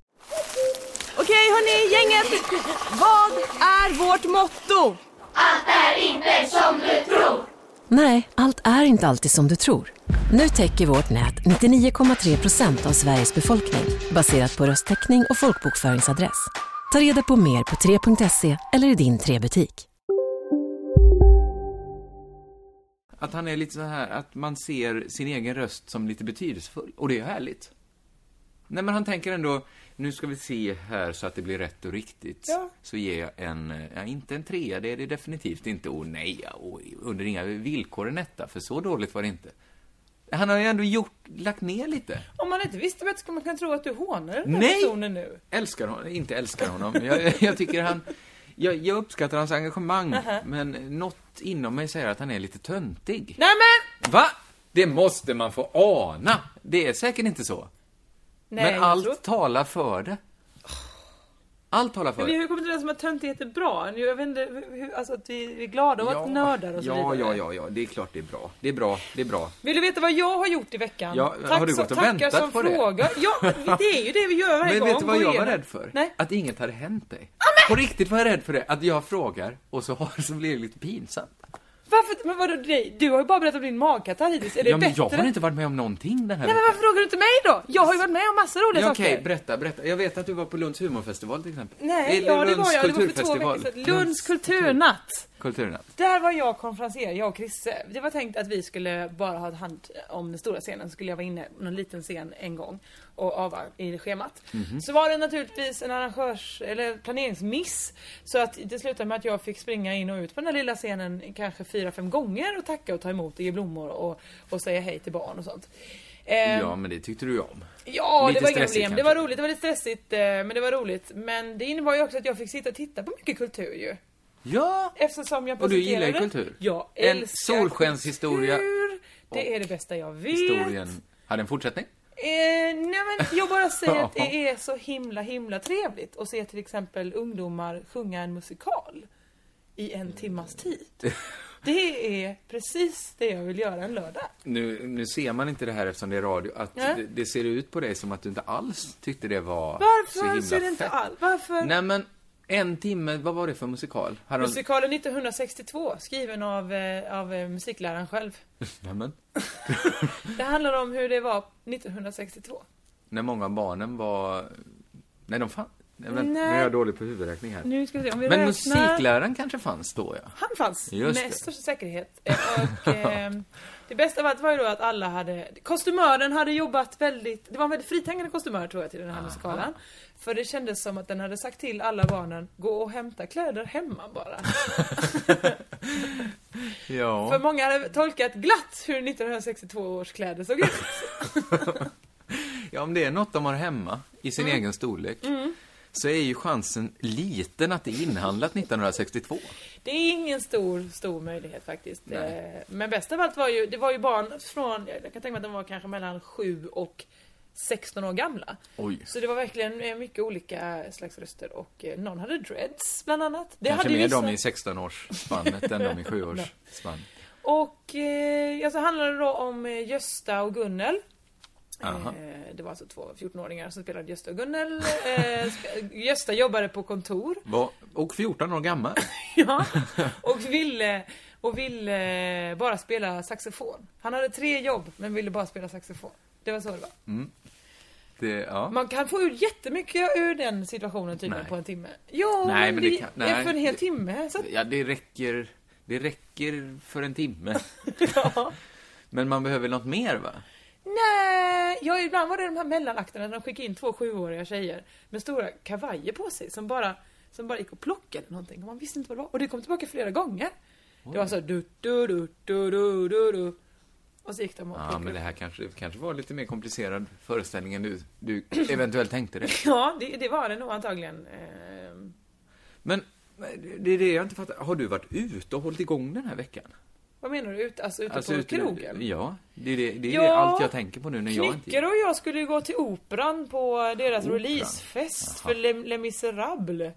Speaker 5: Okej hörni, gänget. Vad är vårt motto?
Speaker 6: Nej, allt är inte alltid som du tror. Nu täcker vårt nät 99,3 procent av Sveriges befolkning baserat på röstteckning och folkbokföringsadress. Ta reda på mer på 3.se eller i din 3-butik.
Speaker 3: Att han är lite så här, att man ser sin egen röst som lite betydelsefull. Och det är härligt. Nej, men han tänker ändå, nu ska vi se här så att det blir rätt och riktigt.
Speaker 4: Ja.
Speaker 3: Så ger jag en, eh, ja, inte en trea, det är det definitivt inte. Och nej, ja, och under inga villkor en etta, för så dåligt var det inte. Han har ju ändå gjort, lagt ner lite.
Speaker 4: Om man inte visste bättre skulle man kunna tro att du hånar den här
Speaker 3: Nej!
Speaker 4: personen nu.
Speaker 3: Älskar honom, inte älskar honom. Jag, jag tycker han, jag, jag uppskattar hans engagemang, men något inom mig säger att han är lite töntig.
Speaker 4: Nej men!
Speaker 3: Va? Det måste man få ana. Det är säkert inte så.
Speaker 4: Nej,
Speaker 3: men
Speaker 4: jag
Speaker 3: allt
Speaker 4: tror-
Speaker 3: talar för det. Allt talar för
Speaker 4: Vi
Speaker 3: det.
Speaker 4: har ju kommit överens om att töntighet är bra. Jag vet inte hur, alltså att vi vi är glada och att nördar och så
Speaker 3: ja, ja,
Speaker 4: vidare.
Speaker 3: ja, ja, det är klart det är bra. Det är bra, det är bra.
Speaker 4: Vill du veta vad jag har gjort i veckan?
Speaker 3: Ja, har du
Speaker 4: så-
Speaker 3: gått och
Speaker 4: tackar
Speaker 3: väntat
Speaker 4: som
Speaker 3: på det?
Speaker 4: fråga. Ja, det är ju det vi gör varje
Speaker 3: Men
Speaker 4: gång.
Speaker 3: vet du vad
Speaker 4: Går
Speaker 3: jag var
Speaker 4: igenom.
Speaker 3: rädd för?
Speaker 4: Nej.
Speaker 3: Att inget hade hänt dig. På riktigt var jag rädd för det, att jag frågar och så, har, så blir det lite pinsamt.
Speaker 4: Varför? Men vadå dig? Du har ju bara berättat om din magkatarr hittills. Är det
Speaker 3: Ja, men
Speaker 4: bättre?
Speaker 3: jag har inte varit med om någonting den här
Speaker 4: Nej men
Speaker 3: veckan.
Speaker 4: varför frågar du inte mig då? Jag har ju varit med om massa roliga
Speaker 3: Ja,
Speaker 4: saker.
Speaker 3: okej, berätta, berätta. Jag vet att du var på Lunds humorfestival till exempel.
Speaker 4: Nej,
Speaker 3: Eller
Speaker 4: ja det var
Speaker 3: Lunds
Speaker 4: jag. Det var för två
Speaker 3: kulturfestival.
Speaker 4: veckor sedan.
Speaker 3: Lunds
Speaker 4: Lunds kulturnatt.
Speaker 3: kulturnatt.
Speaker 4: Där var jag konferenser, jag och Chrisse. Det var tänkt att vi skulle bara ha hand om den stora scenen, så skulle jag vara inne på någon liten scen en gång och ava i schemat.
Speaker 3: Mhm.
Speaker 4: Så var det naturligtvis en arrangörs eller planeringsmiss. Så att det slutade med att jag fick springa in och ut på den här lilla scenen kanske fyra, fem gånger och tacka och ta emot och ge blommor och, och säga hej till barn och sånt. Ehm,
Speaker 3: Ja, men det tyckte du ju om.
Speaker 4: Ja,
Speaker 3: Lite
Speaker 4: det var inga
Speaker 3: stressigt
Speaker 4: problem. Det var
Speaker 3: kanske.
Speaker 4: roligt, det var lite stressigt eh, men det var roligt. Men det innebar ju också att jag fick sitta och titta på mycket kultur ju.
Speaker 3: Ja!
Speaker 4: Eftersom jag
Speaker 3: Och du gillar ju
Speaker 4: presenterade-
Speaker 3: kultur.
Speaker 4: Jag
Speaker 3: En
Speaker 4: älskar
Speaker 3: solskenshistoria.
Speaker 4: kultur. Det är det bästa jag vet.
Speaker 3: historien hade en fortsättning.
Speaker 4: Eh, nej men jag bara säger att det är så himla himla trevligt att se till exempel ungdomar sjunga en musikal i en timmas tid. Det är precis det jag vill göra en lördag.
Speaker 3: Nu, nu ser man inte det här eftersom det är radio, att
Speaker 4: Nej.
Speaker 3: det, det ser ut på dig som att du inte alls tyckte det var så
Speaker 4: Varför
Speaker 3: himla
Speaker 4: ser det inte
Speaker 3: fett.
Speaker 4: alls? Varför?
Speaker 3: Nej men, en timme, vad var det för musikal? Hade de-
Speaker 4: Musikalen 1962, skriven av, eh, av eh, musikläraren själv.
Speaker 3: Nej, men,
Speaker 4: Det handlar om hur det var 1962.
Speaker 3: när många av barnen var Nej, de fanns... Nej, vänta,
Speaker 4: Nej.
Speaker 3: Nu är jag dålig på huvudräkning här.
Speaker 4: Nu ska vi se, om vi
Speaker 3: Men
Speaker 4: räknar...
Speaker 3: musikläraren kanske fanns då, ja.
Speaker 4: Han fanns
Speaker 3: Just
Speaker 4: med
Speaker 3: det.
Speaker 4: största säkerhet. Eh, Och, eh, det bästa av allt var ju då att alla hade... Kostymören hade jobbat väldigt... Det var en väldigt fritänkande kostymör tror jag till den här musikalen. För det kändes som att den hade sagt till alla barnen, gå och hämta kläder hemma bara. För
Speaker 3: Ja,
Speaker 4: många hade tolkat glatt hur 1962 års kläder såg ut.
Speaker 3: ja om det är något de har hemma i
Speaker 4: Mm.
Speaker 3: sin egen storlek så är ju chansen liten att det är inhandlat 1962.
Speaker 4: Det är ingen stor, stor möjlighet faktiskt.
Speaker 3: Nej.
Speaker 4: Eh, Men bäst av allt var ju, det var ju barn från, jag kan tänka mig att de var kanske mellan 7 och 16 år gamla.
Speaker 3: Oj.
Speaker 4: Så det var verkligen eh, mycket olika slags röster och eh, någon hade dreads bland annat. Det
Speaker 3: Kanske
Speaker 4: hade
Speaker 3: mer
Speaker 4: vissa.
Speaker 3: de i 16-årsspannet än de i 7-årsspannet.
Speaker 4: Och eh, ja, så handlade det då om eh, Gösta och Gunnel.
Speaker 3: Aha.
Speaker 4: Eh, det var alltså två 14-åringar som spelade Gösta och Gunnel. Eh, sp- Gösta jobbade på kontor.
Speaker 3: Va- Och 14 år gammal.
Speaker 4: Ja, och ville, och ville bara spela saxofon. Han hade tre jobb men ville bara spela saxofon. Det var så det var.
Speaker 3: Det, ja.
Speaker 4: Man kan få ut jättemycket ur den situationen tydligen
Speaker 3: Nej.
Speaker 4: på en timme. Jo,
Speaker 3: Nej,
Speaker 4: men,
Speaker 3: men
Speaker 4: det,
Speaker 3: det kan- nej.
Speaker 4: är för en hel
Speaker 3: Det-
Speaker 4: timme. Så att,
Speaker 3: ja, det räcker, det räcker för en timme.
Speaker 4: ja.
Speaker 3: Men man behöver något mer, va?
Speaker 4: Nej, ja, ibland var det de här mellanakterna när de skickade in två sjuåriga tjejer med stora kavajer på sig som bara, som bara gick och plockade någonting och man visste inte vad det var. Och det kom tillbaka flera gånger. Det var så du du du du du du du Och så gick de och
Speaker 3: Ja,
Speaker 4: plockade.
Speaker 3: men det här kanske, kanske var lite mer komplicerad föreställning än du, du eventuellt tänkte det.
Speaker 4: Ja, det, det var det nog antagligen. Ehm,
Speaker 3: Men det är det jag inte fattar. Har du varit ute och hållit igång den här veckan?
Speaker 4: vad menar du? Ut, alltså ute på krogen?
Speaker 3: Ja, det är, det, det, är
Speaker 4: Ja,
Speaker 3: det allt jag tänker på nu när jag inte...
Speaker 4: Knycker och jag skulle ju gå till Operan på deras releasefest för Les, Les Misérables.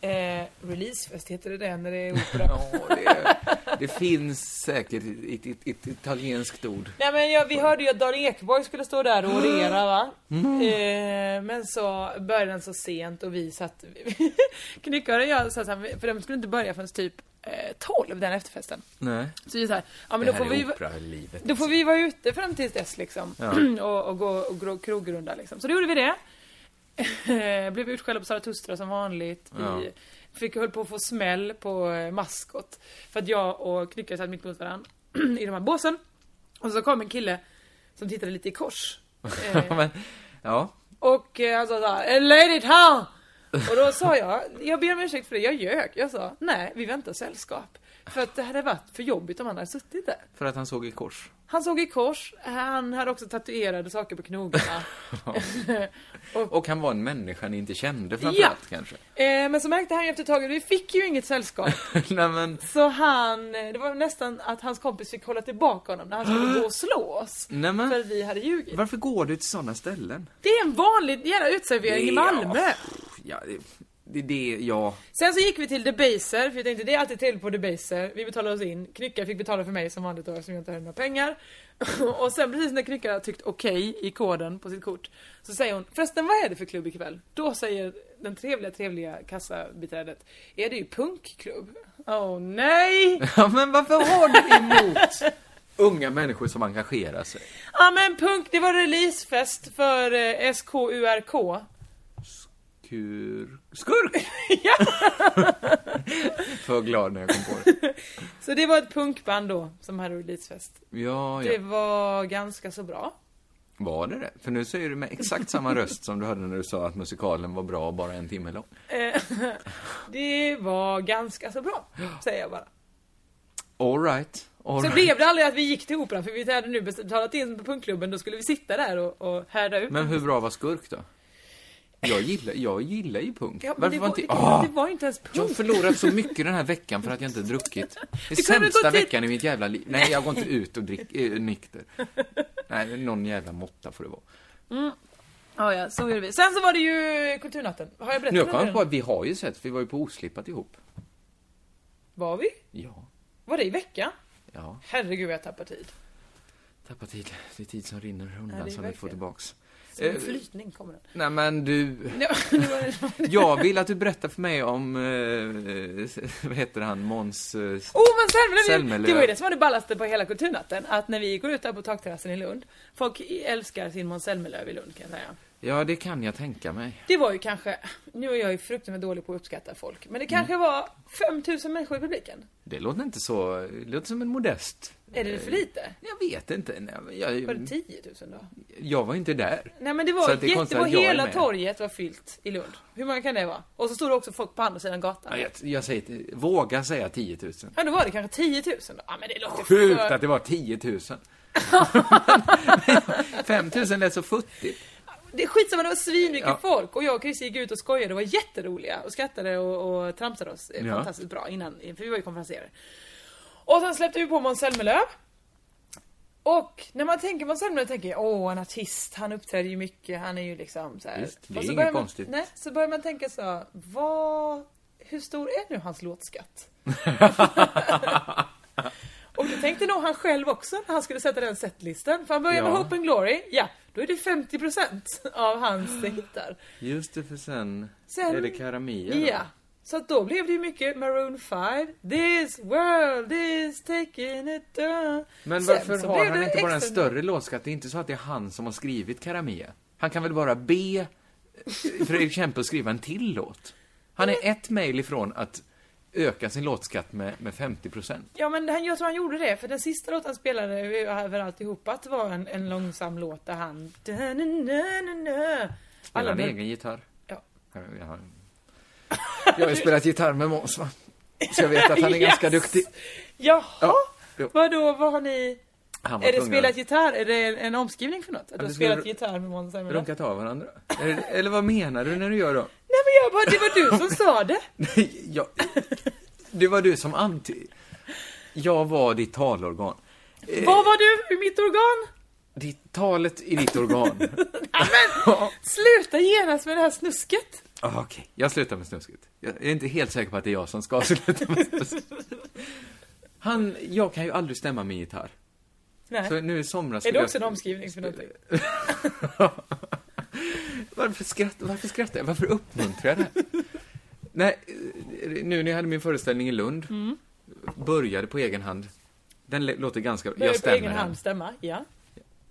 Speaker 4: Eh, releasefest heter det det när det är opera.
Speaker 3: Ja, det, är- det finns säkert ett, ett, ett italienskt ord.
Speaker 4: Nej men jag, vi hörde ju att Dan Ekborg skulle stå där och orera va?
Speaker 3: Mm.
Speaker 4: Eh, men så började den så sent och vi satt... Knyckaren och jag satt så här, för de skulle inte börja förrän typ eh, 12 den efterfesten.
Speaker 3: Nej.
Speaker 4: Så vi såhär, ja men
Speaker 3: det
Speaker 4: då
Speaker 3: här
Speaker 4: får vi...
Speaker 3: är operalivet.
Speaker 4: Då får vi vara ute fram tills dess liksom. och, och gå och gro- krogrunda liksom. Så då gjorde vi det. Blev utskällda på Zarathustra som vanligt. Vi
Speaker 3: Ja.
Speaker 4: fick höll på att få smäll på eh, maskot. För att jag och Knyckare satt mitt mot varandra i de här båsen. Och så kom en kille som tittade lite i kors. Eh,
Speaker 3: Men, ja.
Speaker 4: och eh, han sa såhär, ledigt här! Och då sa jag, jag ber om ursäkt för det, jag ljög. Jag sa, nej vi väntar sällskap. För att det hade varit för jobbigt om han hade suttit där.
Speaker 3: För att han såg i kors.
Speaker 4: Han såg i kors, han hade också tatuerade saker på knogarna.
Speaker 3: Och han var en människa ni inte kände
Speaker 4: Ja.
Speaker 3: framförallt kanske?
Speaker 4: eh, men så märkte han ju efter ett tag, vi fick ju inget sällskap.
Speaker 3: Nej men,
Speaker 4: Så han, eh, det var nästan att hans kompis fick hålla tillbaka honom när han skulle gå och slå oss.
Speaker 3: nej men,
Speaker 4: För att vi hade ljugit.
Speaker 3: varför går du till sådana ställen?
Speaker 4: Det är en vanlig jävla utservering i Malmö.
Speaker 3: Ja, pff, ja det, det, det, ja.
Speaker 4: Sen så gick vi till Debaser, för jag tänkte det är alltid trevligt på Debaser. Vi betalade oss in, Knyckare fick betala för mig som vanligt då eftersom jag inte hade några pengar. och sen precis när Knyckare har tryckt okej i koden på sitt kort så säger hon förresten vad är det för klubb ikväll? Då säger den trevliga trevliga kassabiträdet är det ju punkklubb? Åh oh, nej!
Speaker 3: ja men varför har du emot unga människor som engagerar sig?
Speaker 4: Ja men punk, det var releasefest för eh, SKURK.
Speaker 3: Kur... Skurk! För glad när jag kom på det.
Speaker 4: Så det var ett punkband då som hade releasefest.
Speaker 3: Ja,
Speaker 4: Det
Speaker 3: ja.
Speaker 4: var ganska så bra.
Speaker 3: Var det det? För nu säger du med exakt samma röst som du hade när du sa att musikalen var bra och bara en timme lång.
Speaker 4: Eh, det var ganska så bra, säger jag bara.
Speaker 3: Alright. All
Speaker 4: Så
Speaker 3: right.
Speaker 4: blev det aldrig att vi gick till Operan, för vi hade nu betalat in på punkklubben, då skulle vi sitta där och, och härda ut.
Speaker 3: Men hur bra var Skurk då? Jag gillar, jag gillar ju punk.
Speaker 4: ja, men
Speaker 3: Varför
Speaker 4: det,
Speaker 3: var
Speaker 4: var,
Speaker 3: inte...
Speaker 4: det,
Speaker 3: Ah!
Speaker 4: det var ju inte ens punk.
Speaker 3: Jag har förlorat så mycket den här veckan för att jag inte druckit. Det är
Speaker 4: Du kunde
Speaker 3: sämsta
Speaker 4: gått dit-
Speaker 3: veckan i mitt jävla liv. Nej, jag går inte ut och dricker äh, nykter. Nej, någon jävla måtta får det vara.
Speaker 4: Ja, ja, så gjorde vi. Sen så var det ju Kulturnatten. Har jag berättat
Speaker 3: Nu har jag
Speaker 4: om
Speaker 3: kommit
Speaker 4: den?
Speaker 3: på att vi har ju sett, vi var ju på Oslipat ihop.
Speaker 4: Var vi?
Speaker 3: Ja,
Speaker 4: Var det i veckan?
Speaker 3: ja.
Speaker 4: Herregud, jag tappar tid.
Speaker 3: Tappa tid. Det är tid som rinner
Speaker 4: Ja, det
Speaker 3: undan som
Speaker 4: är
Speaker 3: vi får
Speaker 4: verkligen.
Speaker 3: tillbaks.
Speaker 4: Som en
Speaker 3: Eh,
Speaker 4: flytning kommer den.
Speaker 3: Nej men du,
Speaker 4: Nej, det var-
Speaker 3: jag vill att du berättar för mig om, eh, vad heter han, Måns... Eh,
Speaker 4: Oh men Selmelöv!
Speaker 3: Selmelöv.
Speaker 4: Det var ju det som var det ballaste på hela kulturnatten, att när vi går ut där på takterrassen i Lund, folk älskar sin Måns Zelmerlöw i Lund kan jag säga.
Speaker 3: Ja, det kan jag tänka mig.
Speaker 4: Det var ju kanske, nu är jag ju fruktansvärt dålig på att uppskatta folk, men det kanske
Speaker 3: Mm.
Speaker 4: var 5000 människor i publiken.
Speaker 3: Det låter inte så... Det låter som en modest...
Speaker 4: Är det för
Speaker 3: Mm.
Speaker 4: lite?
Speaker 3: Jag vet inte. Nej, men jag,
Speaker 4: Var det 10 000 då?
Speaker 3: jag var inte där.
Speaker 4: Nej men det
Speaker 3: Mm. Så
Speaker 4: var,
Speaker 3: att det är
Speaker 4: jätte,
Speaker 3: konstigt
Speaker 4: det var
Speaker 3: att jag är
Speaker 4: hela
Speaker 3: med.
Speaker 4: torget var fyllt i Lund. Hur många kan det vara? Och så stod det också folk på andra sidan
Speaker 3: Ja,
Speaker 4: gatan.
Speaker 3: jag, jag säger... Våga säga 10 000.
Speaker 4: Ja då var det kanske 10 000 då. Ja men det låter
Speaker 3: Sjukt
Speaker 4: för...
Speaker 3: att det var 10 000. 5 000 lät så futtigt.
Speaker 4: Det är skitsamma, det var svinmycket
Speaker 3: Ja.
Speaker 4: folk och jag och Chris gick ut och skojade och var jätteroliga och skrattade och, och tramsade oss eh,
Speaker 3: Ja.
Speaker 4: fantastiskt bra innan, för vi var ju konferenserare. Och sen släppte vi på Måns Zelmerlöw. Och när man tänker Måns Zelmerlöw tänker jag åh en artist, han uppträder ju mycket, han är ju liksom så här.
Speaker 3: Visst, det är
Speaker 4: Och så
Speaker 3: inget
Speaker 4: börjar man,
Speaker 3: konstigt.
Speaker 4: Nej, så börjar man tänka så här, vad, hur stor är nu hans låtskatt? Och det tänkte nog han själv också när han skulle sätta den setlistan. För han börjar med
Speaker 3: Ja.
Speaker 4: Hope and Glory, ja, då är det 50% av hans hittar.
Speaker 3: Just det, för sen,
Speaker 4: Sen-
Speaker 3: är det Karamia.
Speaker 4: Ja. Så att då blev det ju mycket Maroon 5, This world is taking it down.
Speaker 3: Men
Speaker 4: Sen
Speaker 3: varför
Speaker 4: så
Speaker 3: har
Speaker 4: blev
Speaker 3: han
Speaker 4: det
Speaker 3: inte bara en
Speaker 4: extra-
Speaker 3: större låtskatt? Det är inte så att det är han som har skrivit Karamia. Han kan väl bara be eh, Fredrik Kempe att skriva en till låt? Han är ett mejl ifrån att öka sin låtskatt med, med 50 procent.
Speaker 4: Ja men han, jag tror han gjorde det, för den sista låten han spelade över alltihopa att det var en, en långsam låt där han...
Speaker 3: Spelar
Speaker 4: Alla
Speaker 3: han
Speaker 4: men,
Speaker 3: egen gitarr?
Speaker 4: Ja.
Speaker 3: Jag, jag, har- jag har ju spelat gitarr med Måns, va? Så jag vet att han är ganska
Speaker 4: Yes!
Speaker 3: duktig.
Speaker 4: Jaha!
Speaker 3: Ja, jo.
Speaker 4: Vadå, vad har ni...
Speaker 3: Han var
Speaker 4: Är det
Speaker 3: tvungen
Speaker 4: spelat gitarr? Är det en, en omskrivning för något? Att du
Speaker 3: det
Speaker 4: har
Speaker 3: skulle
Speaker 4: spelat
Speaker 3: ru-
Speaker 4: gitarr med Måns
Speaker 3: att
Speaker 4: Zelmerlöw?
Speaker 3: runkat av varandra. Eller, eller vad menar du när du gör då?
Speaker 4: Nej men jag bara, det var du som sa det!
Speaker 3: Nej, jag, det var du som anti... Jag var ditt talorgan. Eh.
Speaker 4: Vad var du i mitt organ?
Speaker 3: Ditt, talet i ditt organ.
Speaker 4: Sluta genast med det här snusket!
Speaker 3: Ah, Okej, jag slutar med snusket. Jag är inte helt säker på att det är jag som ska sluta med snusket. Han, jag kan ju aldrig stämma min gitarr.
Speaker 4: Nej.
Speaker 3: Så nu i somras...
Speaker 4: är
Speaker 3: skulle
Speaker 4: det
Speaker 3: jag-
Speaker 4: också en omskrivning för någonting?
Speaker 3: Varför, skratt, varför skrattar jag? Varför uppmuntrar jag det här? Nej, eh, nu när jag hade min föreställning i Lund,
Speaker 4: Mm.
Speaker 3: började på egen hand. Den lä- låter ganska...
Speaker 4: Jag är
Speaker 3: jag
Speaker 4: på
Speaker 3: stämmer
Speaker 4: egen
Speaker 3: den.
Speaker 4: hand stämma, ja.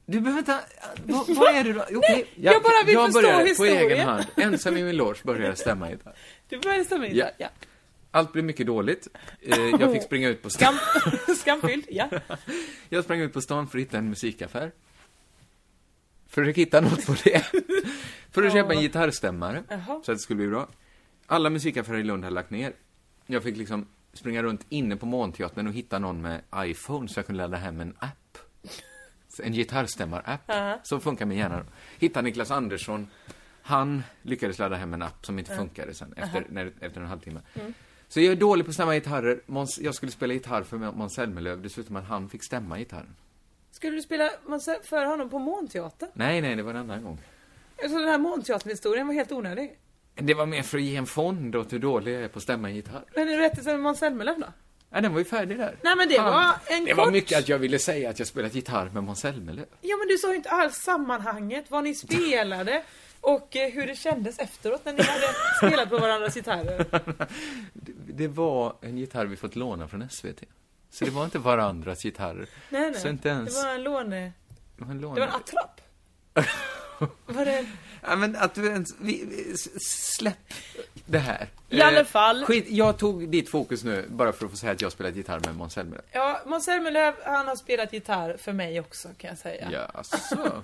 Speaker 3: Du behöver inte... Vad, vad är det då? Okej,
Speaker 4: jag bara vill
Speaker 3: jag
Speaker 4: förstå
Speaker 3: började på
Speaker 4: historien.
Speaker 3: egen hand. Ensam i min loge började jag stämma gitarr.
Speaker 4: Du började stämma in.
Speaker 3: Ja.
Speaker 4: Ja.
Speaker 3: Allt blev mycket dåligt. Eh, Jag fick springa ut på stan.
Speaker 4: Skam, skamfylld, ja.
Speaker 3: Jag sprang ut på stan för att hitta en musikaffär. För att hitta något på det. För att köpa en gitarrstämmare.
Speaker 4: Jaha.
Speaker 3: Så att det skulle bli bra. Alla musikaffärer i Lund hade lagt ner. Jag fick liksom springa runt inne på Månteatern och hitta någon med iPhone så jag kunde ladda hem en app. Så En gitarrstämmar-app. Som funkar med hjärnan. Hittade Niklas Andersson. Han lyckades ladda hem en app som inte funkade sen, efter, när, efter en halvtimme.
Speaker 4: Mm.
Speaker 3: Så jag är dålig på att stämma gitarrer. Måns- Jag skulle spela gitarr för Måns Zelmerlöw. Dessutom att han fick stämma gitarren.
Speaker 4: Skulle du spela Måns- för honom på Månteatern?
Speaker 3: Nej, nej, det var en annan gång.
Speaker 4: Alltså den här Månteatern-historien var helt onödig.
Speaker 3: Det var mer för att ge en fond åt hur dålig jag är på att stämma gitarr.
Speaker 4: Men är det rättelsen med Måns Zelmerlöw då?
Speaker 3: Ja, den var ju färdig där.
Speaker 4: Nej, men det var en
Speaker 3: Det var
Speaker 4: kort-
Speaker 3: mycket att jag ville säga att jag spelat gitarr med Måns Zelmerlöw.
Speaker 4: Ja men du sa ju inte alls sammanhanget, vad ni spelade och eh, hur det kändes efteråt när ni hade spelat på varandras gitarrer.
Speaker 3: Det, det var en gitarr vi fått låna från SVT. Så det var inte varandras gitarrer.
Speaker 4: Nej nej,
Speaker 3: Så inte ens...
Speaker 4: det var en låne...
Speaker 3: Man lånar-
Speaker 4: Det var en attrapp. Var det...
Speaker 3: Ja, men att du ens... Vi, vi- s- släpp det här.
Speaker 4: I alla
Speaker 3: Eh,
Speaker 4: fall-
Speaker 3: Skit, jag tog ditt fokus nu bara för att få säga att jag spelat gitarr med Måns Zelmerlöw.
Speaker 4: Ja, Måns Zelmerlöw, han har spelat gitarr för mig också kan jag säga.
Speaker 3: Jaså?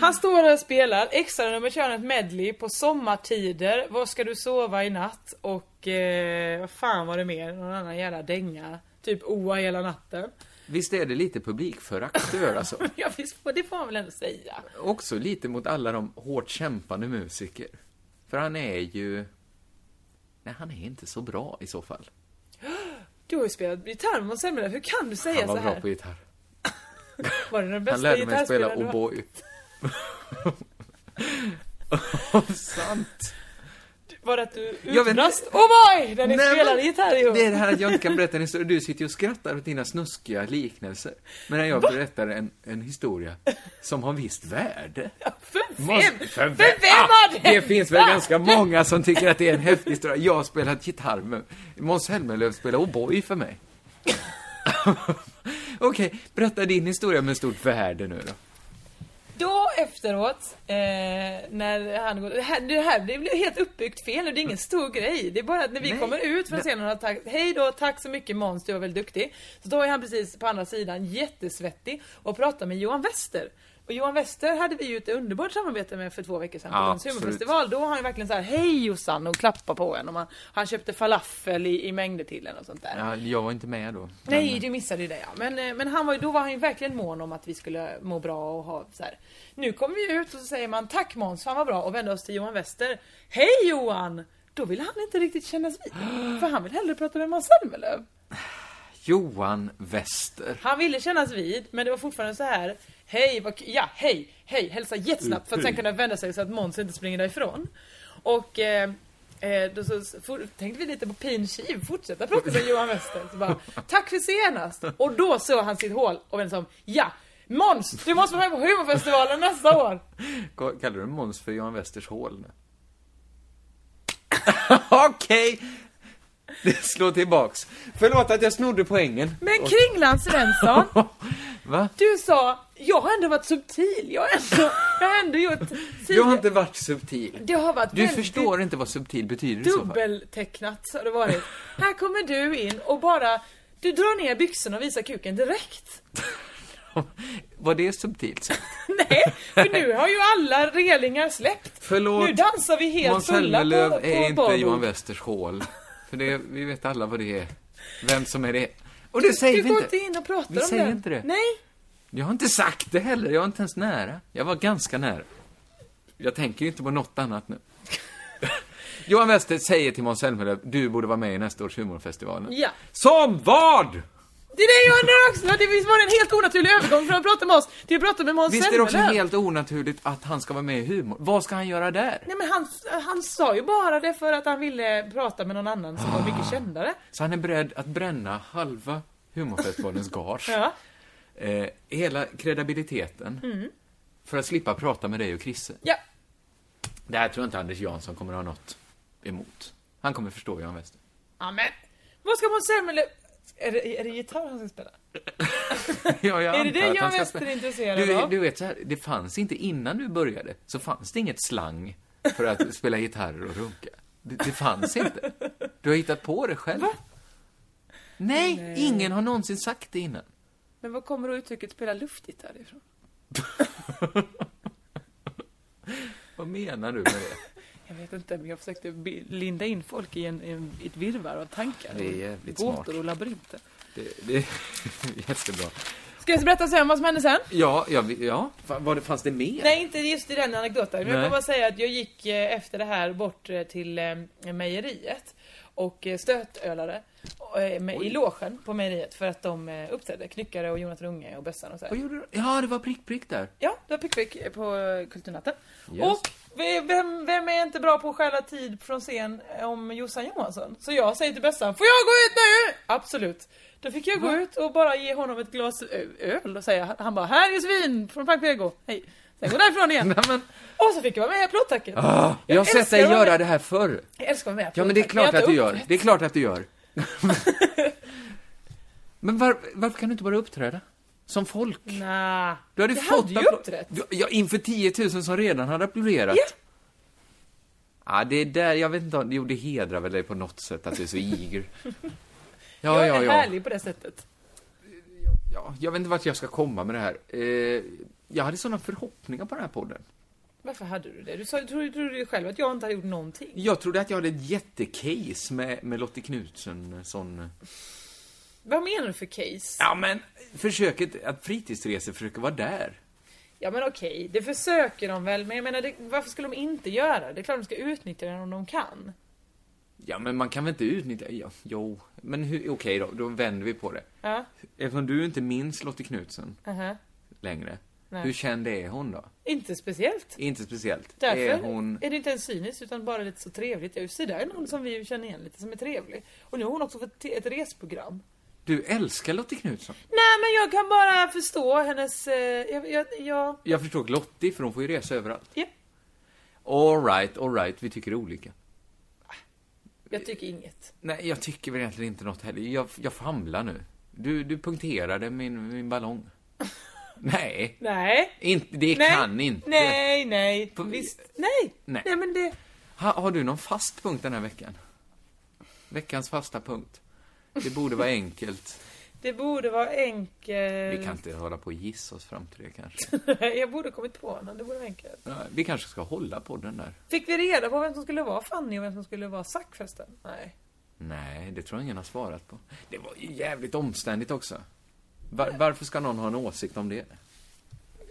Speaker 4: Han står där och spelar, extra nummer kör ett medley på sommartider, Var ska du sova i natt? Och eh, vad fan var det mer? Någon annan jävla dänga. Typ oa hela natten.
Speaker 3: Visst är det lite publikförakt över alltså?
Speaker 4: Ja visst, det får man väl ändå säga.
Speaker 3: Också lite mot alla de hårt kämpande musiker. För han är ju... Nej, han är inte så bra i så fall.
Speaker 4: Du har ju spelat gitarr med Måns Zelmerlöw, hur kan du säga
Speaker 3: Han
Speaker 4: så
Speaker 3: var bra
Speaker 4: här?
Speaker 3: på gitarr.
Speaker 4: Var det den bästa
Speaker 3: Han lärde mig spela
Speaker 4: gitarrspelaren du har?
Speaker 3: O'boy. Och Sant!
Speaker 4: Var det att du
Speaker 3: Jag vet-
Speaker 4: utbrast Oh boy! När
Speaker 3: Nej,
Speaker 4: ni
Speaker 3: men-
Speaker 4: spelade gitarr ihop.
Speaker 3: Det är det här att jag inte kan berätta en historia. Du sitter ju och skrattar åt dina snuskiga liknelser. Medan jag berättar en, en historia som har visst värde.
Speaker 4: För vem?
Speaker 3: Måste-
Speaker 4: För vem
Speaker 3: Ah,
Speaker 4: har det? Ah!
Speaker 3: Det finns väl ganska många som tycker att det är en häftig historia. Jag har spelat gitarr med Måns Zelmerlöw spelar O'boy för mig. Okej, berätta din historia med stort värde nu då.
Speaker 4: Då efteråt, eh, när han går... Det här, det här det blev helt uppbyggt fel och det är ingen stor grej. Det är bara att när vi kommer ut från scenen och har tackt Hej då, tack så mycket Måns, du var väldigt duktig. Så då är han precis på andra sidan jättesvettig och pratar med Johan Wester. Och Johan Wester hade vi ju ett underbart samarbete med för två veckor sedan på
Speaker 3: Ja,
Speaker 4: Lunds humorfestival. Då var han ju verkligen så här Hej Jossan och klappade på en. Och man, han köpte falafel i, i mängder till en och sånt där.
Speaker 3: Ja, jag var inte med då.
Speaker 4: Nej, du missade ju det ja. Men, eh, men han var, ju- då var han ju verkligen mån om att vi skulle må bra och ha så här. Nu kommer vi ut och så säger man tack Måns, fan vad bra och vänder oss till Johan Wester. Hej Johan! Då vill han inte riktigt kännas vid. För han vill hellre prata med Måns Zelmerlöw.
Speaker 3: Johan Wester.
Speaker 4: Han ville kännas vid, men det var fortfarande så här. Hej, vad, k- ja, hej, hej, hälsa jättesnabbt för att
Speaker 3: Mm.
Speaker 4: sen kunna vända sig så att Måns inte springer därifrån. Och eh, eh, då så s- for, tänkte vi lite på pin kiv, fortsätta prata med Johan Wester. Så bara, tack för senast! Och då såg han sitt hål och vände sig om. Ja, Måns, du måste vara med på humorfestivalen nästa år!
Speaker 3: Ka- Kallar du Måns för Johan Westers hål nu? Okej! Det slår tillbaks. Förlåt att jag snodde poängen.
Speaker 4: Men Kringland Svensson,
Speaker 3: Va?
Speaker 4: du sa, jag har ändå varit subtil, jag har ändå, jag har ändå gjort...
Speaker 3: Jag har inte varit subtil.
Speaker 4: Det har varit
Speaker 3: Du
Speaker 4: väldigt-
Speaker 3: förstår inte vad subtil betyder i så fall.
Speaker 4: Dubbeltecknat har det varit. Här kommer du in och bara, du drar ner byxorna och visar kuken direkt.
Speaker 3: Var det subtilt? sagt?
Speaker 4: Nej, för nu har ju alla relingar släppt.
Speaker 3: Förlåt.
Speaker 4: Nu dansar vi helt
Speaker 3: Måns
Speaker 4: fulla på,
Speaker 3: Zelmerlöw
Speaker 4: på
Speaker 3: är inte
Speaker 4: barbord.
Speaker 3: Johan Westers hål. För det, vi vet alla vad det är. Vem som är det. Och det säger
Speaker 4: Du
Speaker 3: vi
Speaker 4: går
Speaker 3: inte.
Speaker 4: inte in och pratar
Speaker 3: Vi
Speaker 4: om
Speaker 3: säger
Speaker 4: det.
Speaker 3: inte det.
Speaker 4: Nej,
Speaker 3: Jag har inte sagt det heller, jag är inte ens nära. Jag var ganska nära. Jag tänker ju inte på något annat nu. Johan Wester säger till Måns Zelmerlöw, du borde vara med i nästa års humorfestival.
Speaker 4: Ja.
Speaker 3: Som vad?
Speaker 4: det är det jag undrar också. Det visst var det en helt onaturlig övergång från att prata med oss till att prata med Måns
Speaker 3: Visst är det också
Speaker 4: Zelmerlöw?
Speaker 3: helt onaturligt att han ska vara med i humor? Vad ska han göra där?
Speaker 4: Nej men han, han sa ju bara det för att han ville prata med någon annan som var
Speaker 3: Ah.
Speaker 4: mycket kändare.
Speaker 3: Så han är beredd att bränna halva humorfestivalens gage.
Speaker 4: Ja.
Speaker 3: eh, hela kredibiliteten.
Speaker 4: Mm.
Speaker 3: För att slippa prata med dig och Krisse.
Speaker 4: Ja,
Speaker 3: Det här tror jag inte Anders Jansson kommer ha något emot. Han kommer förstå Johan Wester.
Speaker 4: Amen. Vad ska Måns Zelmerlöw... Är det, är det gitarr han ska spela?
Speaker 3: Ja, jag
Speaker 4: Är det
Speaker 3: antar
Speaker 4: det
Speaker 3: att
Speaker 4: Johan
Speaker 3: han ska
Speaker 4: Wester
Speaker 3: spela.
Speaker 4: är intresserad
Speaker 3: du,
Speaker 4: av?
Speaker 3: du vet så här, det fanns inte innan du började, så fanns det inget slang för att spela gitarr och runka. Det, det fanns inte. Du har hittat på det själv. Nej, ingen har någonsin sagt det innan.
Speaker 4: Men var kommer då uttrycket spela luftgitarr ifrån?
Speaker 3: Vad menar du med det?
Speaker 4: Jag vet inte, men jag försökte bi- linda in folk i, en, i en, i ett virrvarr av tankar.
Speaker 3: Det är
Speaker 4: och
Speaker 3: jävligt
Speaker 4: gåtor
Speaker 3: smart.
Speaker 4: och labyrinter.
Speaker 3: Det, det är jättebra.
Speaker 4: Ska jag berätta sen vad som hände sen?
Speaker 3: Ja, ja, vi- ja. Fa- Var det, fanns det mer?
Speaker 4: Nej, inte just i den anekdoten. Men jag
Speaker 3: Nej.
Speaker 4: kan bara säga att jag gick eh, efter det här bort eh, till eh, mejeriet och eh, stötölade och, eh, med, i logen på mejeriet för att de eh, uppträdde. Knyckare och Jonathan Unge och Bössan och så. här.
Speaker 3: Vad gjorde du? Ja, det var prick, prick där.
Speaker 4: Ja, det var pickpick på eh, Kulturnatten.
Speaker 3: Yes.
Speaker 4: Och v- vem, vem är inte bra på att stjäla tid från scen eh, om Jossan Johansson? Så jag säger till Bessan, får jag gå ut nu? Absolut. Då fick jag gå ut och bara ge honom ett glas ö- öl och säga, han bara, här är Josefin från Frank Vego, hej. Sen går därifrån igen.
Speaker 3: Nej, men,
Speaker 4: Och så fick jag vara med i applådtacket.
Speaker 3: ah, jag har sett
Speaker 4: älskar
Speaker 3: dig
Speaker 4: att vara
Speaker 3: göra
Speaker 4: med.
Speaker 3: det här förr.
Speaker 4: Jag älskar att vara med i
Speaker 3: Ja, men det är
Speaker 4: applådtacket,
Speaker 3: klart att du
Speaker 4: jag har inte
Speaker 3: gör. Det är klart att du gör. men var, varför kan du inte bara uppträda? Som folk?
Speaker 4: uppträtt. Nja,
Speaker 3: Du hade
Speaker 4: jag
Speaker 3: fått
Speaker 4: hade ju
Speaker 3: applå-
Speaker 4: uppträtt.
Speaker 3: Du- Ja, inför 10 000 som redan hade applåderat.
Speaker 4: Ja.
Speaker 3: Ja, det är där, jag vet inte, om- jo det hedrar väl dig på något sätt att du är så iger. Ja,
Speaker 4: Jag
Speaker 3: ja,
Speaker 4: är
Speaker 3: ja.
Speaker 4: härlig på det sättet.
Speaker 3: ja. Jag vet inte vart jag ska komma med det här. Eh, jag hade sådana förhoppningar på den här podden.
Speaker 4: Varför hade du det? Du sa, trodde, trodde ju själv att jag inte hade gjort någonting.
Speaker 3: Jag trodde att jag hade ett jättecase med, med Lottie Knutsson, sån...
Speaker 4: Vad menar du för case?
Speaker 3: Ja, men försöket att fritidsresor försöker vara där.
Speaker 4: Ja men okej, det försöker de väl, men jag menar det, varför skulle de inte göra det? Det är klart de ska utnyttja den om de kan.
Speaker 3: Ja, men man kan väl inte utnyttja... Ja, jo, men hur- okej då, då vänder vi på det.
Speaker 4: Ja,
Speaker 3: Eftersom du inte minns Lottie Knutsen
Speaker 4: aha.
Speaker 3: längre,
Speaker 4: Nej.
Speaker 3: hur känd är hon då?
Speaker 4: Inte speciellt.
Speaker 3: Inte speciellt.
Speaker 4: Därför
Speaker 3: Är hon...
Speaker 4: det inte ens cyniskt utan bara lite så trevligt. Ja, se där är någon som vi känner igen lite som är trevlig. Och nu har hon också fått te- ett resprogram.
Speaker 3: Du älskar Lottie Knutsson.
Speaker 4: Nej men jag kan bara förstå hennes, eh, jag, jag, jag,
Speaker 3: Jag förstår Lottie, för hon får ju resa överallt.
Speaker 4: ja,
Speaker 3: All right, all right, vi tycker olika.
Speaker 4: jag tycker inget.
Speaker 3: Nej, jag tycker väl egentligen inte något heller. Jag, jag famlar nu. Du, du punkterade min, min ballong. Nej,
Speaker 4: Nej.
Speaker 3: inte, det
Speaker 4: nej.
Speaker 3: kan inte.
Speaker 4: Nej, nej.
Speaker 3: På-
Speaker 4: Visst. Nej.
Speaker 3: Nej.
Speaker 4: nej, men det...
Speaker 3: Ha, har du någon fast punkt den här veckan? Veckans fasta punkt. Det borde vara enkelt.
Speaker 4: Det borde vara enkelt.
Speaker 3: Vi kan inte hålla på och gissa oss fram till det kanske.
Speaker 4: Jag borde kommit på honom, det vore enkelt.
Speaker 3: Ja, Vi kanske ska hålla på den där.
Speaker 4: Fick vi reda på vem som skulle vara Fanny och vem som skulle vara Zack förresten? Nej.
Speaker 3: Nej, det tror jag ingen har svarat på. Det var ju jävligt omständigt också. Var, varför ska någon ha en åsikt om det?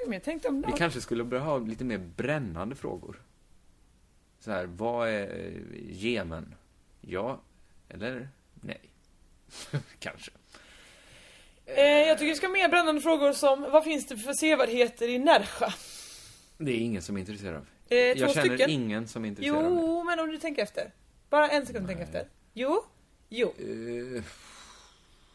Speaker 4: Men jag tänkte om
Speaker 3: Vi
Speaker 4: något.
Speaker 3: kanske skulle börja ha lite mer brännande frågor. Så här, vad är eh, Jemen? Ja, eller nej? kanske.
Speaker 4: Eh, jag tycker vi ska ha mer brännande frågor som vad finns det för sevärdheter i Nerja?
Speaker 3: Det är ingen som är intresserad av.
Speaker 4: Eh,
Speaker 3: jag
Speaker 4: två
Speaker 3: känner
Speaker 4: stycken.
Speaker 3: ingen som är intresserad av
Speaker 4: Jo, men om du tänker efter. Bara en sekund tänk efter. Jo, jo.
Speaker 3: det. Eh,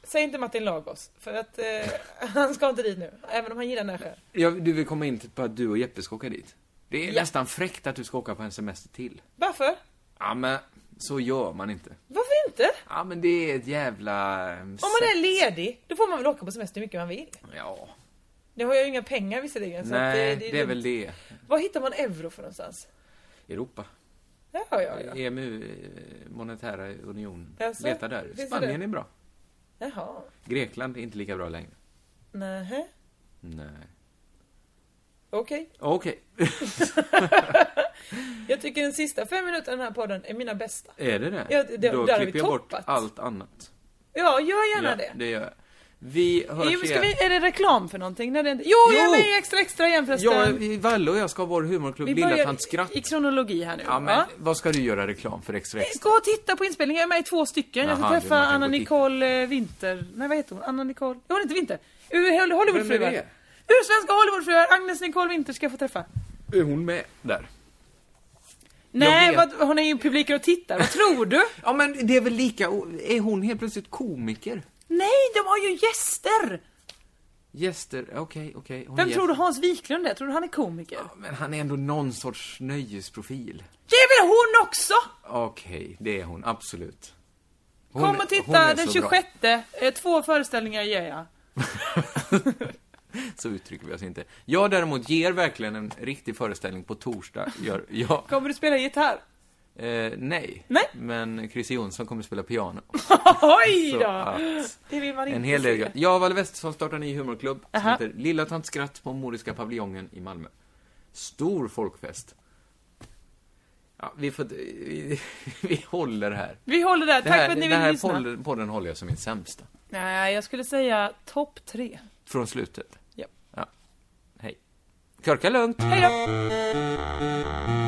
Speaker 4: Säg inte Martin Lagos, för att eh, han ska inte dit nu. Även om han gillar Nässjö.
Speaker 3: jag, du vill komma in på att du och Jeppe ska åka dit? Det är nästan fräckt att du ska åka på en semester till.
Speaker 4: Varför?
Speaker 3: Ja, men så gör man inte.
Speaker 4: Varför inte?
Speaker 3: Ja, men det är ett jävla... eh, Om
Speaker 4: Om man är ledig, då får man väl åka på semester hur mycket man vill.
Speaker 3: Ja.
Speaker 4: Nu har jag ju inga pengar visserligen. Så att eh,
Speaker 3: Nej,
Speaker 4: det,
Speaker 3: det,
Speaker 4: det,
Speaker 3: är
Speaker 4: dumt.
Speaker 3: väl det.
Speaker 4: Var hittar man euro för någonstans?
Speaker 3: Europa.
Speaker 4: Ja, ja, ja.
Speaker 3: EMU, eh, Monetära Unionen.
Speaker 4: Jaså?
Speaker 3: Leta där.
Speaker 4: Finns det
Speaker 3: Spanien
Speaker 4: det?
Speaker 3: är bra.
Speaker 4: Jaha.
Speaker 3: Grekland är inte lika bra längre.
Speaker 4: Nähä.
Speaker 3: Nej.
Speaker 4: Okej.
Speaker 3: Okej.
Speaker 4: Jag tycker den sista fem minuterna i den här podden är mina bästa.
Speaker 3: Är det det?
Speaker 4: Ja, det-
Speaker 3: Då
Speaker 4: där har vi
Speaker 3: klipper jag bort
Speaker 4: toppat.
Speaker 3: allt annat.
Speaker 4: Ja, gör gärna
Speaker 3: ja,
Speaker 4: det.
Speaker 3: det gör jag. Vi hörs
Speaker 4: Jo, men ska
Speaker 3: igen.
Speaker 4: vi, är det reklam för någonting? Nej, det är inte... Jo, jag är
Speaker 3: Jo!
Speaker 4: med i Extra Extra igen förresten.
Speaker 3: Ja, i Valle och jag ska ha vår humorklubb
Speaker 4: vi
Speaker 3: Lilla
Speaker 4: börjar
Speaker 3: Tant Skratt.
Speaker 4: i kronologi här nu.
Speaker 3: Ja, men vad ska du göra reklam för extra extra?
Speaker 4: Gå och titta på inspelningen, jag är med i två stycken.
Speaker 3: Jaha,
Speaker 4: jag ska
Speaker 3: du,
Speaker 4: träffa
Speaker 3: man kan
Speaker 4: Anna
Speaker 3: gå och titta.
Speaker 4: Nicole eh, Winter. Nej, vad heter hon? Anna Nicole... Jo, hon heter Winter. Ur
Speaker 3: Vem är
Speaker 4: Hollywoodfruar.
Speaker 3: det?
Speaker 4: Ur svenska Hollywoodfruar, Agnes Nicole Winter ska jag få träffa.
Speaker 3: Är hon med där?
Speaker 4: Nej,
Speaker 3: vet.
Speaker 4: vad, hon är ju i publiken och tittar. Vad tror du?
Speaker 3: Ja, men det är väl lika... o- Är hon helt plötsligt komiker?
Speaker 4: Nej, de har ju gäster!
Speaker 3: Gäster? Okej, okej. hon
Speaker 4: Vem
Speaker 3: är
Speaker 4: tror du
Speaker 3: gäst.
Speaker 4: Hans Wiklund är? Tror du han är komiker?
Speaker 3: Men han är ändå någon sorts nöjesprofil.
Speaker 4: Det är väl hon också!
Speaker 3: Okej, det är hon. Absolut. Hon-
Speaker 4: Kom och
Speaker 3: hon är
Speaker 4: titta den
Speaker 3: så bra.
Speaker 4: 26. Eh, Två föreställningar ger jag.
Speaker 3: Så uttrycker vi oss inte. Jag däremot ger verkligen en riktig föreställning på torsdag. Gör jag.
Speaker 4: Kommer du spela gitarr?
Speaker 3: Eh, nej.
Speaker 4: Nej.
Speaker 3: Men Christer Jonsson kommer spela piano.
Speaker 4: Oj
Speaker 3: Så
Speaker 4: då!
Speaker 3: att-
Speaker 4: Det vill man inte
Speaker 3: En hel del
Speaker 4: se.
Speaker 3: gött. Jag och Valle Westesson startar en ny humorklubb som
Speaker 4: Aha.
Speaker 3: heter Lilla Tant Skratt på Moriska paviljongen i Malmö. Stor folkfest. Ja, vi, får, vi, vi håller här.
Speaker 4: Vi håller där,
Speaker 3: Det
Speaker 4: tack
Speaker 3: här,
Speaker 4: för att ni
Speaker 3: den
Speaker 4: vill
Speaker 3: här
Speaker 4: lyssna.
Speaker 3: podden, podden håller jag som min sämsta.
Speaker 4: Nej, jag skulle säga topp tre.
Speaker 3: Från slutet.
Speaker 4: Ja.
Speaker 3: ja. Hej. Körka lugnt.
Speaker 4: Hej då!